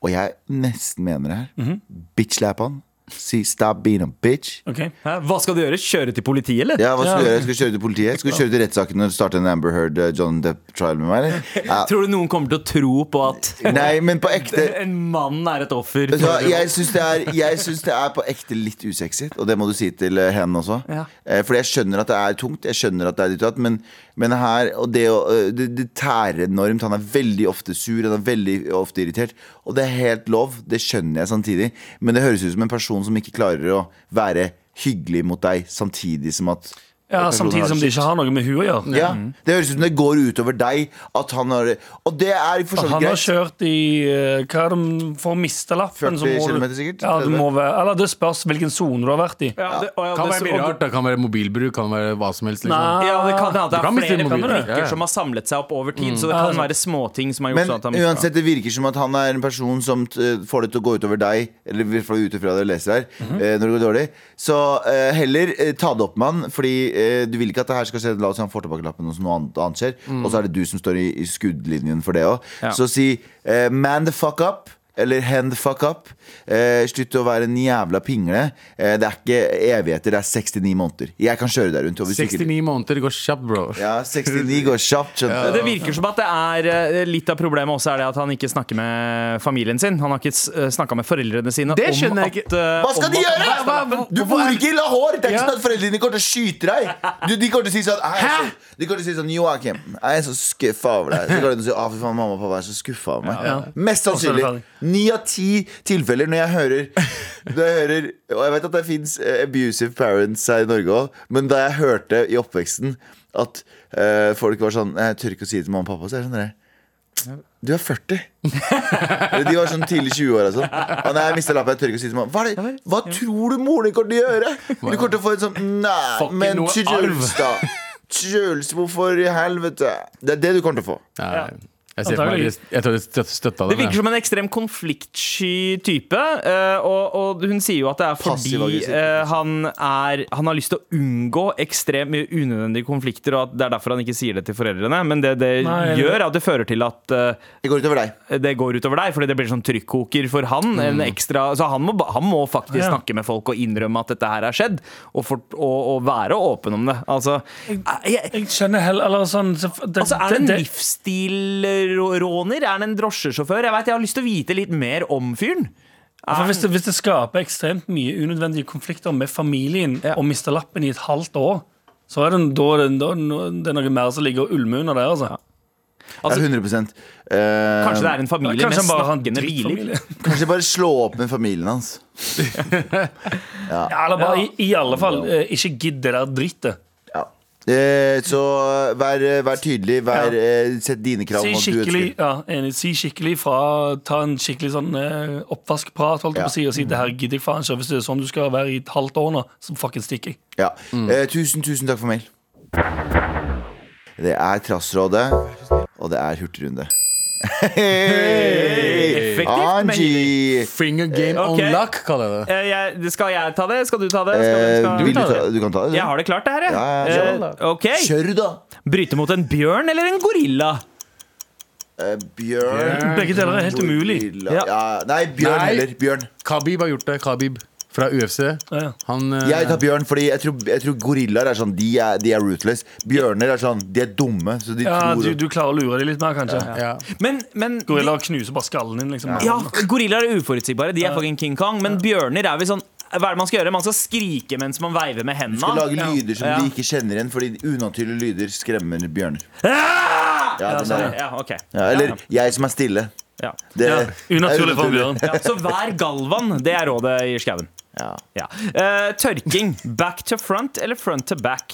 [SPEAKER 1] og jeg nesten mener det her, bitch-slap han. Si 'stop being a bitch'.
[SPEAKER 2] Ok.
[SPEAKER 5] Hæ? Hva skal du gjøre? Kjøre til politiet, eller?
[SPEAKER 1] Ja, hva skal du
[SPEAKER 2] Ja.
[SPEAKER 1] gjøre? Skal du kjøre til politiet? Skal du kjøre til rettssaken og starte en Amber Heard eh, John Depp-trial med meg? Eller? Ja.
[SPEAKER 5] Tror du noen kommer til å tro på at
[SPEAKER 1] Nei, men på ekte
[SPEAKER 5] en mann er et offer?
[SPEAKER 1] Vet du hva,
[SPEAKER 5] for-
[SPEAKER 1] jeg syns det, er- jeg synes det er på ekte litt usexy, og det må du si til eh, henne også.
[SPEAKER 5] Ja.
[SPEAKER 1] Eh, Fordi jeg skjønner at det er tungt, jeg skjønner at det er ditt og datt, men, men her og det, å, eh, det, det tærer enormt. Han er veldig ofte sur, han er veldig ofte irritert. Og det er helt lov, det skjønner jeg samtidig, men det høres ut som en person som ikke klarer å være hyggelig mot deg samtidig som at
[SPEAKER 2] Ja,
[SPEAKER 1] personen har
[SPEAKER 2] Samtidig som
[SPEAKER 1] det
[SPEAKER 2] de ikke har noe med hun å gjøre.
[SPEAKER 1] ja, Det høres ut som det går utover deg at han har Og det er for så vidt
[SPEAKER 2] Han har
[SPEAKER 1] greit.
[SPEAKER 2] kjørt i eh, Hva er det for å miste lappen?
[SPEAKER 1] 40
[SPEAKER 2] må du-
[SPEAKER 1] kilometer sikkert,
[SPEAKER 2] Ja, du
[SPEAKER 1] 30.
[SPEAKER 2] må være, eller det spørs hvilken sone du har vært i.
[SPEAKER 5] Ja, det,
[SPEAKER 3] Kan være mye rart. Det kan være mobilbruk, kan være hva som helst. Liksom.
[SPEAKER 2] Nei.
[SPEAKER 5] Ja, det kan hende at det
[SPEAKER 3] Du kan
[SPEAKER 5] er
[SPEAKER 3] miste
[SPEAKER 5] flere
[SPEAKER 3] mobilen,
[SPEAKER 5] konflikter
[SPEAKER 3] ja, Mm. ja.
[SPEAKER 5] som har samlet seg opp over tid. Så det kan være småting som har gjort
[SPEAKER 1] Men
[SPEAKER 5] sånn at han mistet.
[SPEAKER 1] uansett, det virker som at han er en person som t- får det til å gå utover deg, eller i hvert fall ut ifra det du leser her,
[SPEAKER 5] Mhm.
[SPEAKER 1] eh, når det går dårlig. Så eh, heller eh, ta det opp med han, fordi eh, du vil ikke at det her skal skje. La oss si han får tilbake lappen, og så noe annet, annet skjer. Og så er det du som står i, i skuddlinjen for det òg.
[SPEAKER 5] Mm. Ja.
[SPEAKER 1] Så si eh, man the fuck up. eh, Eller hand the fuck up. Eh, slutt å være en jævla pingle. Eh, det er ikke evigheter, det er 69 måneder. Jeg kan kjøre deg rundt. og hvis ikke-
[SPEAKER 3] 69 måneder går kjapt, bro.
[SPEAKER 1] Ja, 69 går kjapt, skjønner du.
[SPEAKER 5] Det virker som at det er eh, litt av problemet også er det at han ikke snakker med familien sin. Han har ikke snakka med foreldrene sine
[SPEAKER 3] Det
[SPEAKER 5] om
[SPEAKER 3] skjønner
[SPEAKER 5] at
[SPEAKER 3] jeg ikke.
[SPEAKER 5] eh,
[SPEAKER 1] Hva skal
[SPEAKER 5] om
[SPEAKER 1] de
[SPEAKER 5] at-
[SPEAKER 1] gjøre?! Du bor ikke i Lahore! Det er ikke
[SPEAKER 3] Ja.
[SPEAKER 1] sånn at foreldrene dine kommer til å skyte deg. Du, de kommer til å si sånn «Jeg er så- De kommer til å si sånn Joakim, jeg er så skuffa over deg. Så kommer de til å si Å, fy faen, mamma og pappa er så skuffa over meg. Mest sannsynlig.
[SPEAKER 2] Og så er det
[SPEAKER 1] Ni av ti tilfeller når jeg hører Når jeg hører Og jeg vet at det fins abusive parents her i Norge òg, men da jeg hørte i oppveksten at eh, folk var sånn Jeg tør ikke å si det til mamma og pappa, så er det sånn der, du er 40. Eller De var sånn tidlig 20-åra. Sånn. «Å, Nei, jeg mistet lappen. Jeg tør ikke å si det til mamma. Hva, er det, hva tror du moren din kommer til å gjøre? Du kommer til å få en sånn Nei,
[SPEAKER 3] Fucking
[SPEAKER 1] men
[SPEAKER 3] noe
[SPEAKER 1] Truls,
[SPEAKER 3] arv.»
[SPEAKER 1] da. Truls, hvorfor i helvete? Det er det du kommer til å få.
[SPEAKER 3] Ja. Jeg ser for meg
[SPEAKER 2] Antagelig.
[SPEAKER 3] jeg- Jeg tror det støtta
[SPEAKER 5] Det
[SPEAKER 3] dem.
[SPEAKER 5] virker
[SPEAKER 3] jeg.
[SPEAKER 5] som en ekstrem konfliktsky type. eh, og, og hun sier jo at det er
[SPEAKER 1] Passiv
[SPEAKER 5] fordi
[SPEAKER 1] aggressiv.
[SPEAKER 5] eh, han, er, han har lyst til å unngå ekstremt mye unødvendige konflikter, og at det er derfor han ikke sier det til foreldrene. Men det det
[SPEAKER 2] Nei, eller-
[SPEAKER 5] gjør, er at det fører til at eh,
[SPEAKER 1] Det går utover deg.
[SPEAKER 5] det går utover deg, fordi det blir sånn trykkoker for han. En ekstra, så han må, ba- han må faktisk
[SPEAKER 2] Mm. Ja.
[SPEAKER 5] snakke med folk og innrømme at dette her har skjedd, og, for, og, og være åpen om det. Altså, eh, jeg,
[SPEAKER 2] Jeg skjønner heller eller sånn, så f- det,
[SPEAKER 5] Altså, Er det en
[SPEAKER 2] det- det-
[SPEAKER 5] livsstilråner? Er det en drosjesjåfør? Jeg vet, jeg har lyst til å vite litt mer om fyren.
[SPEAKER 2] for altså, hvis, det, hvis det skaper ekstremt mye unødvendige konflikter med familien
[SPEAKER 5] Ja.
[SPEAKER 2] og mister lappen i et halvt år, så er det, da, er det, da er det noe- det er noe mer som ligger og ulmer under der. Altså.
[SPEAKER 1] Det
[SPEAKER 5] Altså,
[SPEAKER 1] er 100 Eh,
[SPEAKER 5] Kanskje det er en familie med
[SPEAKER 2] Kanskje han bare har en
[SPEAKER 5] snakkende biler?
[SPEAKER 2] drittfamilie.
[SPEAKER 1] Kanskje bare slå opp med familien hans.
[SPEAKER 2] Ja, eller bare i, i alle fall eh, ikke gidd det der drittet.
[SPEAKER 1] Ja. Eh, så vær, vær tydelig. Vær, eh, sett dine krav
[SPEAKER 2] Si
[SPEAKER 1] om hva du
[SPEAKER 2] skikkelig,
[SPEAKER 1] ønsker.
[SPEAKER 2] ja, enig, si skikkelig fra. Ta en skikkelig sånn eh, oppvaskprat holdt jeg
[SPEAKER 1] Ja.
[SPEAKER 2] på å si, og si det her gidder jeg faen ikke. Hvis det er sånn du skal være i et halvt år nå, så fuckings stikker jeg.
[SPEAKER 1] Ja. Eh, tusen, tusen takk for mail. Det er Trassrådet, og det er Hurtigrunde. Hey!
[SPEAKER 5] Effektivt, men
[SPEAKER 1] Angie! Eh,
[SPEAKER 3] Finger game on
[SPEAKER 5] Ok.
[SPEAKER 3] luck, kaller jeg det.
[SPEAKER 5] Eh, jeg, skal jeg ta det? Skal du ta det? Skal,
[SPEAKER 1] Eh,
[SPEAKER 5] skal...
[SPEAKER 1] vil du, ta, du kan ta det.
[SPEAKER 5] Jeg har det klart, det her. jeg.
[SPEAKER 1] Ja, ja, ja.
[SPEAKER 5] Eh, ok.
[SPEAKER 1] Kjør, da!
[SPEAKER 5] Bryte mot en bjørn eller en gorilla?
[SPEAKER 1] Eh, bjørn
[SPEAKER 2] Begge deler er helt umulig.
[SPEAKER 1] Gorilla.
[SPEAKER 5] Ja.
[SPEAKER 1] Ja. Nei, Bjørn
[SPEAKER 3] Nei.
[SPEAKER 1] heller. Bjørn.
[SPEAKER 3] Khabib har gjort det. Khabib fra UFC.
[SPEAKER 2] Ja, ja.
[SPEAKER 3] Han eh,
[SPEAKER 1] Jeg tar bjørn, fordi jeg tror, jeg tror gorillaer er sånn De er, de er ruthless. Bjørner er sånn De er dumme, så de
[SPEAKER 2] Ja,
[SPEAKER 1] tror
[SPEAKER 2] du, du klarer å lure dem litt mer, kanskje.
[SPEAKER 3] ja.
[SPEAKER 5] Men, men
[SPEAKER 2] Gorillaer knuser bare skallen din. liksom
[SPEAKER 5] Ja, gorillaer er uforutsigbare. De er fucking King Kong. Men bjørner er vi sånn Hva er det man skal gjøre? Man skal skrike mens man veiver
[SPEAKER 1] Du
[SPEAKER 5] med
[SPEAKER 1] skal
[SPEAKER 5] hendene.
[SPEAKER 1] lage lyder som
[SPEAKER 5] Ja.
[SPEAKER 1] de ikke kjenner igjen, fordi unaturlige lyder skremmer bjørner.
[SPEAKER 5] Ah!
[SPEAKER 1] Ja, den
[SPEAKER 5] Ja,
[SPEAKER 1] der, ja.
[SPEAKER 5] ja, ok.
[SPEAKER 1] Ja, eller jeg som er stille.
[SPEAKER 5] Ja.
[SPEAKER 1] Det,
[SPEAKER 2] Ja, unaturlig for en bjørn.
[SPEAKER 5] Ja, så vær Galvan. Det er rådet i skauen.
[SPEAKER 1] Ja.
[SPEAKER 5] Ja. Eh, tørking. Back to front eller front to back?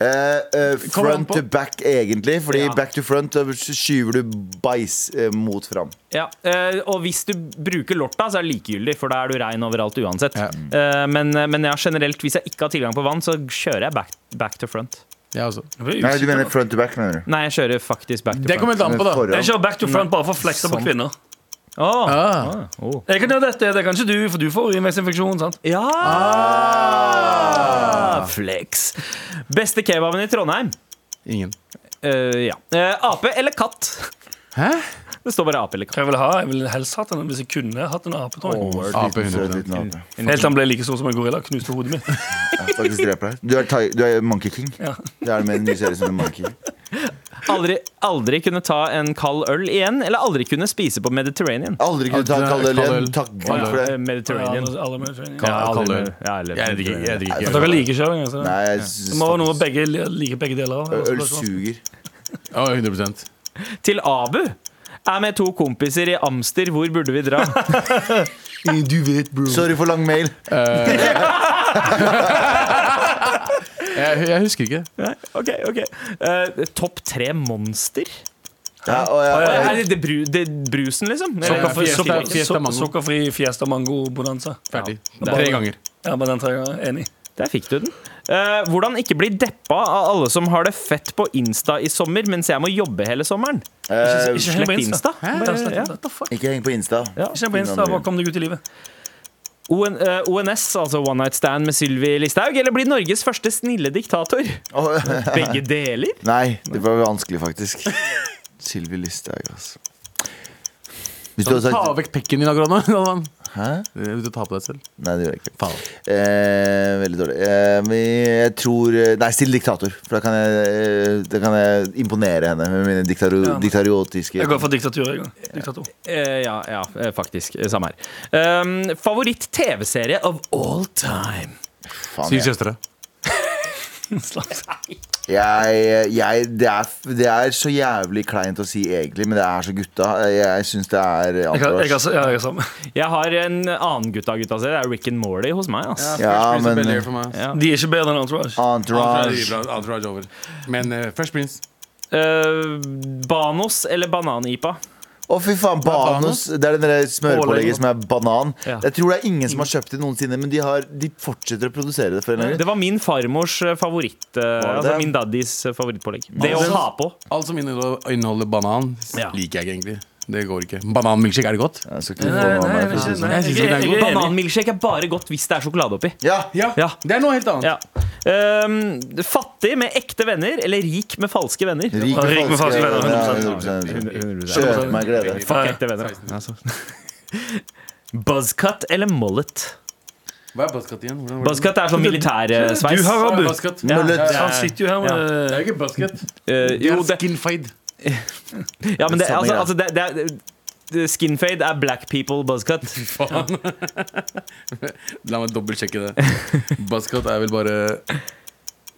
[SPEAKER 1] Eh, eh,
[SPEAKER 3] Kommer an
[SPEAKER 1] front
[SPEAKER 3] på-
[SPEAKER 1] to back, egentlig. Fordi
[SPEAKER 5] Ja.
[SPEAKER 1] back to front, da skyver du bæsj eh, mot fram.
[SPEAKER 5] Ja. eh, og hvis du bruker lorta, så er det likegyldig, for da er du rein overalt uansett. Eh, men, men ja, generelt, hvis jeg ikke har tilgang på vann, så kjører jeg back, back to front.
[SPEAKER 3] Jeg også.
[SPEAKER 1] Nei, du mener front to back, mener du?
[SPEAKER 5] Nei, jeg kjører faktisk back to
[SPEAKER 3] Det kommer
[SPEAKER 5] front.
[SPEAKER 3] helt an på, da.
[SPEAKER 1] Foran.
[SPEAKER 2] Jeg kjører back to front bare for å flekse på kvinner.
[SPEAKER 5] Åh.
[SPEAKER 3] Ah.
[SPEAKER 5] Åh.
[SPEAKER 2] Jeg kan gjøre dette, det kan ikke du, for du får urinveisinfeksjon. sant?
[SPEAKER 5] Ja!
[SPEAKER 3] Ah!
[SPEAKER 5] Flex. Beste kebaben i Trondheim?
[SPEAKER 3] Ingen.
[SPEAKER 5] Eh, ja. Eh, ape eller katt?
[SPEAKER 3] Hæ?
[SPEAKER 5] Det står bare ape eller katt.
[SPEAKER 2] Hva jeg ville ha? Jeg ville helst hatt en hvis jeg kunne hatt en ape. tror jeg
[SPEAKER 3] AP
[SPEAKER 1] Liten, søt
[SPEAKER 3] 100
[SPEAKER 1] liten ape.
[SPEAKER 2] Helt til han ble like stor som en gorilla. Knuste hodet mitt.
[SPEAKER 1] Jeg faktisk dreper deg. Du er, ti- du er Monkey King.
[SPEAKER 2] Ja.
[SPEAKER 1] Det er det med en ny serie som er Monkey King.
[SPEAKER 5] Aldri, aldri kunne ta en kald øl igjen, eller aldri kunne spise på Mediterranean.
[SPEAKER 1] Aldri kunne ta en kald øl igjen. Takk Gud for
[SPEAKER 5] Eh,
[SPEAKER 1] det.
[SPEAKER 5] Mediterranean.
[SPEAKER 2] Alle- alle med training.
[SPEAKER 3] Ja,
[SPEAKER 5] aldri-
[SPEAKER 3] kald øl.
[SPEAKER 5] Ja, eller-
[SPEAKER 3] Jeg drikker ikke. Jeg drikker
[SPEAKER 2] Men
[SPEAKER 3] ikke.
[SPEAKER 2] Dere liker ikke øl?
[SPEAKER 1] Nei,
[SPEAKER 2] Det
[SPEAKER 1] jeg synes
[SPEAKER 2] må være noe
[SPEAKER 1] faktisk-
[SPEAKER 2] begge li- liker begge deler. av. sånn.
[SPEAKER 1] Øl suger.
[SPEAKER 3] Ja, 100
[SPEAKER 5] Til Abu. Er med to kompiser i Amster, hvor burde vi dra?
[SPEAKER 3] Du vet, bro.
[SPEAKER 1] Sorry for lang mail.
[SPEAKER 3] Eh, Jeg, jeg husker ikke.
[SPEAKER 5] Nei, ok, ok Eh, Topp tre monster?
[SPEAKER 1] Ja, og jeg,
[SPEAKER 3] Eh,
[SPEAKER 5] Er det, det, bru, det brusen, liksom? Eller-
[SPEAKER 3] Sukkerfri-
[SPEAKER 5] Fiesta-
[SPEAKER 3] sukkerfri-
[SPEAKER 5] Fiesta-
[SPEAKER 3] Fiesta
[SPEAKER 2] Su-
[SPEAKER 3] Mango.
[SPEAKER 2] Sukkerfri Fiesta Mango Bonanza.
[SPEAKER 3] Ferdig.
[SPEAKER 5] Ja.
[SPEAKER 3] Tre ganger.
[SPEAKER 2] Ja, men den tar jeg enig i.
[SPEAKER 5] Der fikk du den. Eh, hvordan ikke bli deppa av alle som har det fett på Insta i sommer, mens jeg må jobbe hele sommeren?
[SPEAKER 1] eh,
[SPEAKER 2] Ikke heng på
[SPEAKER 5] Slett
[SPEAKER 2] Insta.
[SPEAKER 5] Insta.
[SPEAKER 2] Bare slett
[SPEAKER 5] Ja.
[SPEAKER 2] Insta. What the fuck?
[SPEAKER 1] ikke heng på Insta.
[SPEAKER 2] Ikke heng på Insta, bare kom deg ut i livet.
[SPEAKER 5] ON, eh, ONS, altså One Night Stand med Sylvi Listhaug, eller bli Norges første snille diktator?
[SPEAKER 1] Åh,
[SPEAKER 5] Begge deler.
[SPEAKER 1] Nei, det var vanskelig, faktisk. Sylvi Listhaug, altså. Hvis
[SPEAKER 2] Sånn
[SPEAKER 1] du hadde
[SPEAKER 3] Ta
[SPEAKER 1] sagt
[SPEAKER 3] vekk pekken din akkurat nå. Galvan.
[SPEAKER 1] Hæ?
[SPEAKER 3] Eh, Du tar på deg selv.
[SPEAKER 1] Nei, det gjør jeg ikke.
[SPEAKER 3] Faen.
[SPEAKER 1] Eh, veldig dårlig. Eh, men jeg tror eh, Nei, still diktator. For da kan jeg, eh, da kan jeg imponere henne med mine diktator, diktariotiske
[SPEAKER 2] Jeg går for diktatur. Jeg. går. Diktator.
[SPEAKER 5] Eh, ja, ja, eh, faktisk. Eh, Samme her. Um, Favoritt-TV-serie of all time.
[SPEAKER 1] Faen,
[SPEAKER 3] Syv
[SPEAKER 1] jeg.
[SPEAKER 3] søstre.
[SPEAKER 2] Slags.
[SPEAKER 1] Jeg, jeg, det, er, det er så jævlig kleint å si egentlig, men det er så gutta. Jeg syns det er
[SPEAKER 2] Jeg har, jeg
[SPEAKER 1] Entourage.
[SPEAKER 2] har, ja, jeg har samme.
[SPEAKER 5] Jeg har en annen gutta-gutta-serie. Det er Rick and Morley hos meg. ass.
[SPEAKER 1] Ja, men
[SPEAKER 5] Ja.
[SPEAKER 2] De er ikke bedre enn Entourage.
[SPEAKER 3] Ah,
[SPEAKER 1] Entourage.
[SPEAKER 3] Men eh, Fresh Prince.
[SPEAKER 5] Eh, Banos eller Banan-IPA?
[SPEAKER 1] Å, fy faen. Banos. Det er den der smørpålegget som er banan.
[SPEAKER 5] Ja.
[SPEAKER 1] Jeg tror det er ingen som har kjøpt det noensinne, men de, har, de fortsetter å produsere det. for en gang.
[SPEAKER 5] Det var min farmors eh, favoritt. eh, altså
[SPEAKER 1] det?
[SPEAKER 5] min daddys eh, favorittpålegg. Det å ha på.
[SPEAKER 3] Alt som inneholder, inneholder banan,
[SPEAKER 5] Ja.
[SPEAKER 3] liker jeg ikke egentlig. Det går ikke. Bananmilkshake, er det godt?
[SPEAKER 1] Jeg skal ikke banan her, for å si det sånn.
[SPEAKER 3] Jeg synes ikke det er
[SPEAKER 2] Jeg er enig.
[SPEAKER 5] Eh, Bananmilkshake er bare godt hvis det er sjokolade oppi.
[SPEAKER 1] Ja.
[SPEAKER 5] Ja.
[SPEAKER 3] Det er noe helt annet.
[SPEAKER 5] Ja. Um, fattig med ekte venner eller rik med falske venner?
[SPEAKER 1] Rik
[SPEAKER 2] Rik med falske venner,
[SPEAKER 1] Ja,
[SPEAKER 2] 100%.
[SPEAKER 1] 100%.
[SPEAKER 5] 100%.
[SPEAKER 1] Kjøp meg glede.
[SPEAKER 5] Fuck ekte venner. da. Buzzcut eller mullet?
[SPEAKER 3] Hva er buzzcut igjen? Hvordan-
[SPEAKER 5] Buzzcut er sånn militærsveis.
[SPEAKER 2] Du har
[SPEAKER 3] Hva er
[SPEAKER 2] Abu.
[SPEAKER 3] buzzcut?
[SPEAKER 5] Ja,
[SPEAKER 1] Mullet.
[SPEAKER 5] ja, ja.
[SPEAKER 2] Han sitter jo her med
[SPEAKER 3] Det er jo ikke buzzcut.
[SPEAKER 5] Eh, jo, det,
[SPEAKER 3] skin fade.
[SPEAKER 5] ja, men det,
[SPEAKER 1] Samme
[SPEAKER 5] altså,
[SPEAKER 1] greie.
[SPEAKER 5] altså det, det er det- Skinfade er black people buzzcut.
[SPEAKER 3] La meg dobbeltsjekke det. Buzzcut er vel bare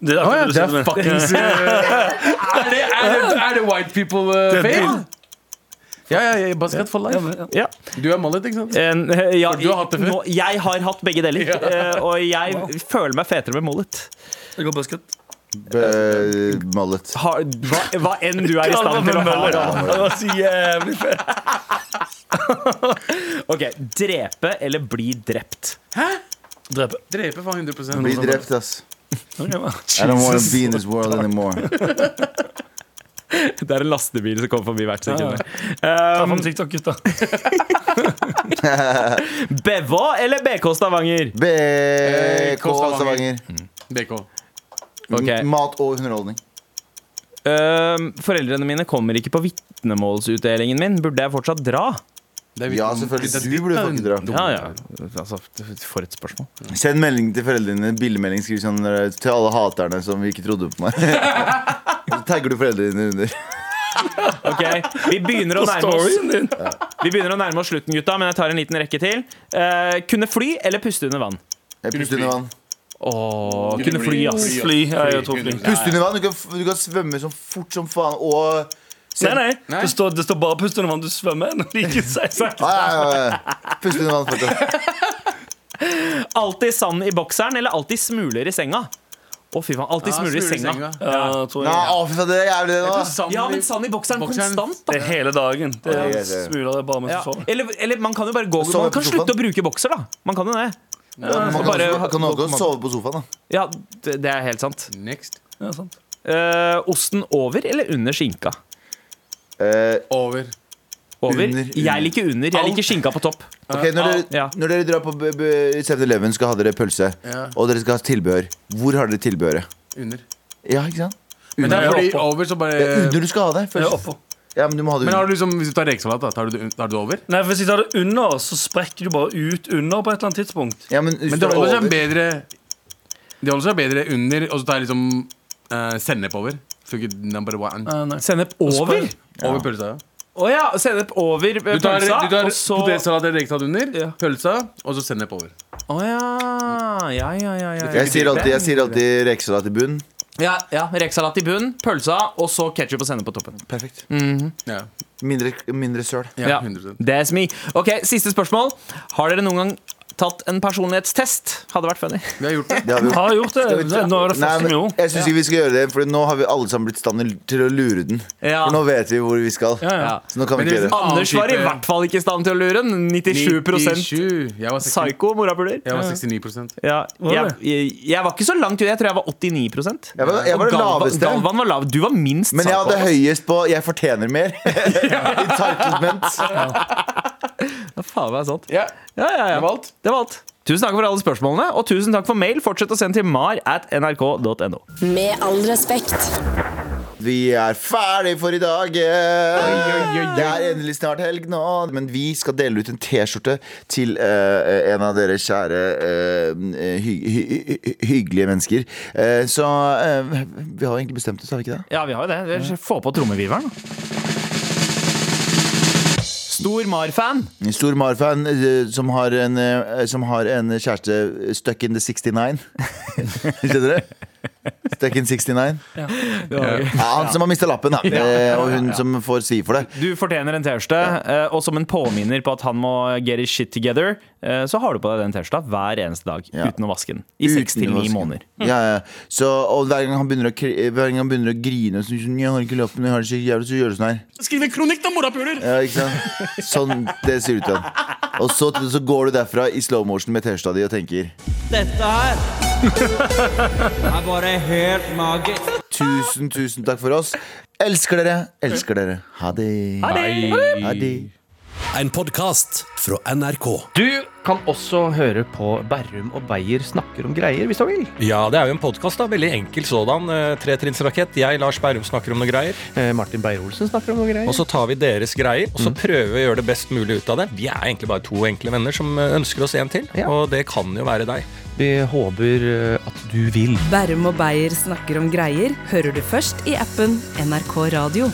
[SPEAKER 2] Det er
[SPEAKER 3] Å ja,
[SPEAKER 2] akkurat
[SPEAKER 3] det
[SPEAKER 2] det du
[SPEAKER 3] er
[SPEAKER 2] sitter med.
[SPEAKER 3] fuckings eh, er, det- er, det- er det white people uh,
[SPEAKER 2] Det er
[SPEAKER 3] fade?
[SPEAKER 2] din.
[SPEAKER 3] Ja, ja, ja, buzzcut for life.
[SPEAKER 5] Ja.
[SPEAKER 3] Du er mallet, ikke sant?
[SPEAKER 5] En, eh, ja,
[SPEAKER 3] Du har hatt det før.
[SPEAKER 5] nå, jeg har hatt begge deler, eh, og jeg føler meg fetere med mullet.
[SPEAKER 2] Jeg går buzzcut.
[SPEAKER 1] Bø- Mullet.
[SPEAKER 5] Har- Hva, hva enn du er i stand til å ha. da.
[SPEAKER 2] Det var så jævlig fett.
[SPEAKER 5] Ok, Drepe eller bli drept?
[SPEAKER 2] Drepe.
[SPEAKER 3] Dreper faen 100
[SPEAKER 1] Bli drept, ass.
[SPEAKER 2] Ok, hva?
[SPEAKER 1] I don't wanna be in this world anymore.
[SPEAKER 5] Det er en lastebil som kommer forbi hvert sekund.
[SPEAKER 2] Ta
[SPEAKER 5] Um,
[SPEAKER 2] fram TikTok, gutta.
[SPEAKER 5] Bevå eller BK Stavanger?
[SPEAKER 1] BK Stavanger.
[SPEAKER 3] BK.
[SPEAKER 5] Ok.
[SPEAKER 1] Mat og underholdning.
[SPEAKER 5] Øhm, Ehm, foreldrene mine kommer ikke på vitnemålsutdelingen min. Burde jeg fortsatt dra?
[SPEAKER 3] Det er
[SPEAKER 1] Ja,
[SPEAKER 3] vitne-
[SPEAKER 1] selvfølgelig.
[SPEAKER 3] det er
[SPEAKER 1] Du
[SPEAKER 3] ditt,
[SPEAKER 1] burde
[SPEAKER 3] da.
[SPEAKER 1] fucking dra.
[SPEAKER 5] Ja, ja. Altså, for et spørsmål.
[SPEAKER 1] Send melding til foreldrene dine. Bildemelding skriv sånn eh, til alle haterne som ikke trodde på meg. Og Så tagger du foreldrene dine under.
[SPEAKER 5] Ok, Vi begynner å nærme oss
[SPEAKER 2] Storyen din.
[SPEAKER 5] Vi begynner å nærme oss slutten, gutta, men jeg tar en liten rekke til. Eh, kunne fly eller puste under vann?
[SPEAKER 1] Jeg puster under vann.
[SPEAKER 5] Åh, kunne fly, ass.
[SPEAKER 2] Fly. Ja, jeg tror fly.
[SPEAKER 1] Puste under vann, du kan, du kan svømme så fort som faen. Og
[SPEAKER 2] Nei, nei. Det står, det står bare pust under vann. Du svømmer ennå. Like seigt.
[SPEAKER 1] ah, ja, ja, ja. Puste under vann fortsatt.
[SPEAKER 5] Alltid sand i bokseren eller alltid smuler i senga? Å, fy faen. Alltid
[SPEAKER 3] Ja,
[SPEAKER 5] smuler i senga.
[SPEAKER 2] Ja, tror
[SPEAKER 1] Nei,
[SPEAKER 2] jeg.
[SPEAKER 1] å, fy faen, det er jævlig det, da.
[SPEAKER 3] Sand-
[SPEAKER 5] Ja, men sand i bokseren
[SPEAKER 3] Bokseren.
[SPEAKER 5] konstant, da.
[SPEAKER 2] Det er hele dagen. Det
[SPEAKER 1] Ja,
[SPEAKER 2] er
[SPEAKER 1] det er det.
[SPEAKER 2] smuler det bare mens
[SPEAKER 5] Ja.
[SPEAKER 2] du sover.
[SPEAKER 5] Eller, eller man kan jo bare gå
[SPEAKER 1] Og sove
[SPEAKER 5] Man kan
[SPEAKER 1] på
[SPEAKER 5] slutte
[SPEAKER 1] sofaen.
[SPEAKER 5] å bruke bokser, da. Man kan jo det.
[SPEAKER 1] Man kan
[SPEAKER 5] Bare-
[SPEAKER 1] også- kan også sove på sofaen, da.
[SPEAKER 5] Ja, det det er helt sant.
[SPEAKER 3] Next.
[SPEAKER 2] Ja, sant.
[SPEAKER 5] Eh, osten over eller under skinka?
[SPEAKER 1] Eh,
[SPEAKER 3] Over.
[SPEAKER 1] Under,
[SPEAKER 5] Over.
[SPEAKER 1] under.
[SPEAKER 5] Jeg liker under. Jeg liker skinka på topp.
[SPEAKER 1] Ok, når dere,
[SPEAKER 5] Ja.
[SPEAKER 1] når dere drar på b- b- 7-Eleven, skal ha dere pølse,
[SPEAKER 3] Ja.
[SPEAKER 1] og dere skal ha tilbehør, hvor har dere tilbehøret?
[SPEAKER 3] Under.
[SPEAKER 1] Ja, ikke sant?
[SPEAKER 3] Men det er
[SPEAKER 2] Under.
[SPEAKER 3] fordi over så bare
[SPEAKER 1] Det er under du skal ha det.
[SPEAKER 2] Jeg
[SPEAKER 1] Først.
[SPEAKER 2] er oppå.
[SPEAKER 1] Ja, men du må ha det
[SPEAKER 3] Men har
[SPEAKER 1] under.
[SPEAKER 3] du liksom, hvis du tar rekesalat, da, tar du, det- tar du det over?
[SPEAKER 2] Nei, for Hvis jeg tar det under, så sprekker du bare ut under på et eller annet tidspunkt.
[SPEAKER 1] Ja, men,
[SPEAKER 3] Men det holder seg bedre Det holder seg bedre under, og så tar jeg liksom eh, sennep over. Funker number one.
[SPEAKER 2] Nei, nei.
[SPEAKER 5] Sennep over?
[SPEAKER 3] Over pølsa. ja.
[SPEAKER 5] Å ja, sennep over eh,
[SPEAKER 3] Du tar,
[SPEAKER 5] pølsa,
[SPEAKER 3] du tar
[SPEAKER 5] og så
[SPEAKER 3] potetsalat eller rekesalat under,
[SPEAKER 5] Ja.
[SPEAKER 3] pølsa, og så sennep over.
[SPEAKER 5] Å ja. Ja, ja, ja. ja, ja.
[SPEAKER 1] Jeg sier alltid, jeg sier alltid rekesalat i bunnen.
[SPEAKER 5] ja, ja. Rekesalat i bunn, pølsa, og så ketsjup og sennep på toppen.
[SPEAKER 1] Perfekt.
[SPEAKER 3] Ja,
[SPEAKER 1] Mindre, mindre søl.
[SPEAKER 3] ja, 100%.
[SPEAKER 5] That's me. Ok, Siste spørsmål. Har dere noen gang tatt en personlighetstest? Hadde vært funny.
[SPEAKER 3] Vi har gjort det.
[SPEAKER 1] Det har vi gjort.
[SPEAKER 2] Har gjort det. Nå er det
[SPEAKER 1] Nei,
[SPEAKER 2] første vi
[SPEAKER 1] men
[SPEAKER 2] gjorde.
[SPEAKER 1] jeg syns ikke vi skal gjøre det, for nå har vi alle sammen blitt i stand til å lure den.
[SPEAKER 5] Ja.
[SPEAKER 1] For nå vet vi hvor vi skal.
[SPEAKER 5] Ja.
[SPEAKER 1] Så nå kan vi ikke
[SPEAKER 3] Men
[SPEAKER 1] gjøre
[SPEAKER 3] det-
[SPEAKER 1] det.
[SPEAKER 5] Anders var i
[SPEAKER 3] Annen type-
[SPEAKER 5] hvert fall ikke i stand til å lure den. 97
[SPEAKER 3] Jeg var 60
[SPEAKER 5] psyko morapuler.
[SPEAKER 3] jeg var 69
[SPEAKER 5] Ja,
[SPEAKER 2] Var
[SPEAKER 5] jeg,
[SPEAKER 2] det?
[SPEAKER 5] jeg, jeg var ikke så langt ut. Jeg tror jeg var 89
[SPEAKER 1] Jeg var- jeg var
[SPEAKER 5] Og
[SPEAKER 1] det
[SPEAKER 5] Galvan-
[SPEAKER 1] laveste.
[SPEAKER 5] Galvan var lav. Du var minst.
[SPEAKER 1] Men jeg
[SPEAKER 5] psycho.
[SPEAKER 1] hadde høyest på 'jeg fortjener mer'. Entitlement.
[SPEAKER 5] Ja, faen meg sant.
[SPEAKER 3] Ja,
[SPEAKER 5] Ja, ja, ja.
[SPEAKER 3] det var alt.
[SPEAKER 5] Det var alt. Tusen takk for alle spørsmålene, og tusen takk for mail. Fortsett å sende til mar at nrk.no.
[SPEAKER 6] Med all respekt.
[SPEAKER 1] Vi er ferdig for i dag. Det er endelig snart helg nå. Men vi skal dele ut en T-skjorte til eh, en av dere kjære eh, hy hy hy hyggelige mennesker. Eh, så eh, vi har jo egentlig bestemt oss, har vi ikke det?
[SPEAKER 5] Ja, vi har jo det. Vi- Få på trommeviveren. Stor Mar-fan.
[SPEAKER 1] En Stor Mar-fan eh, som, har en, eh, som har en kjæreste stuck in the 69. Skjønner du? Stuck in 69. Ja, han som har mista lappen, da. Eh, Og hun som får si for det.
[SPEAKER 5] Du fortjener en T-skjorte, eh, og som en påminner på at han må get his shit together, eh, så har du på deg den T-skjorta hver eneste dag
[SPEAKER 1] Ja.
[SPEAKER 5] uten å vaske den. I
[SPEAKER 1] Uten
[SPEAKER 5] seks til ni
[SPEAKER 1] vasken.
[SPEAKER 5] måneder.
[SPEAKER 1] Ja, ja. Så, og hver gang han begynner å, kri- hver gang han begynner å grine så, sier han, Jeg har ikke lappen, jeg har det så jævlig, så gjør du sånn her.
[SPEAKER 7] Skrive kronikk, da, morapuler!
[SPEAKER 1] Ja, ikke sant? Sånn, det sier du til han. Og så, så går du derfra i slow motion med T-skjorta di og tenker
[SPEAKER 8] Dette her er bare helt magisk.
[SPEAKER 1] Tusen, tusen takk for oss. Elsker dere. Elsker dere. Ha det. Ha det. Ha det.
[SPEAKER 7] En podkast fra NRK.
[SPEAKER 9] Du kan også høre på Berrum og Beyer snakker om greier, hvis du vil.
[SPEAKER 10] Ja, det er jo en podkast, da. Veldig enkel sådan. Eh, Tretrinnsrakett. Jeg, Lars Berrum, snakker om noe greier.
[SPEAKER 9] Eh, Martin Beyer-Olsen snakker om noen greier. Mm.
[SPEAKER 10] Og så tar vi deres greier, og så prøver vi å gjøre det best mulig ut av det. Vi er egentlig bare to enkle venner som eh, ønsker oss en til,
[SPEAKER 9] Ja.
[SPEAKER 10] og det kan jo være deg.
[SPEAKER 9] Vi håper eh, at du vil.
[SPEAKER 4] Bærum og Beyer snakker om greier hører du først i appen NRK Radio.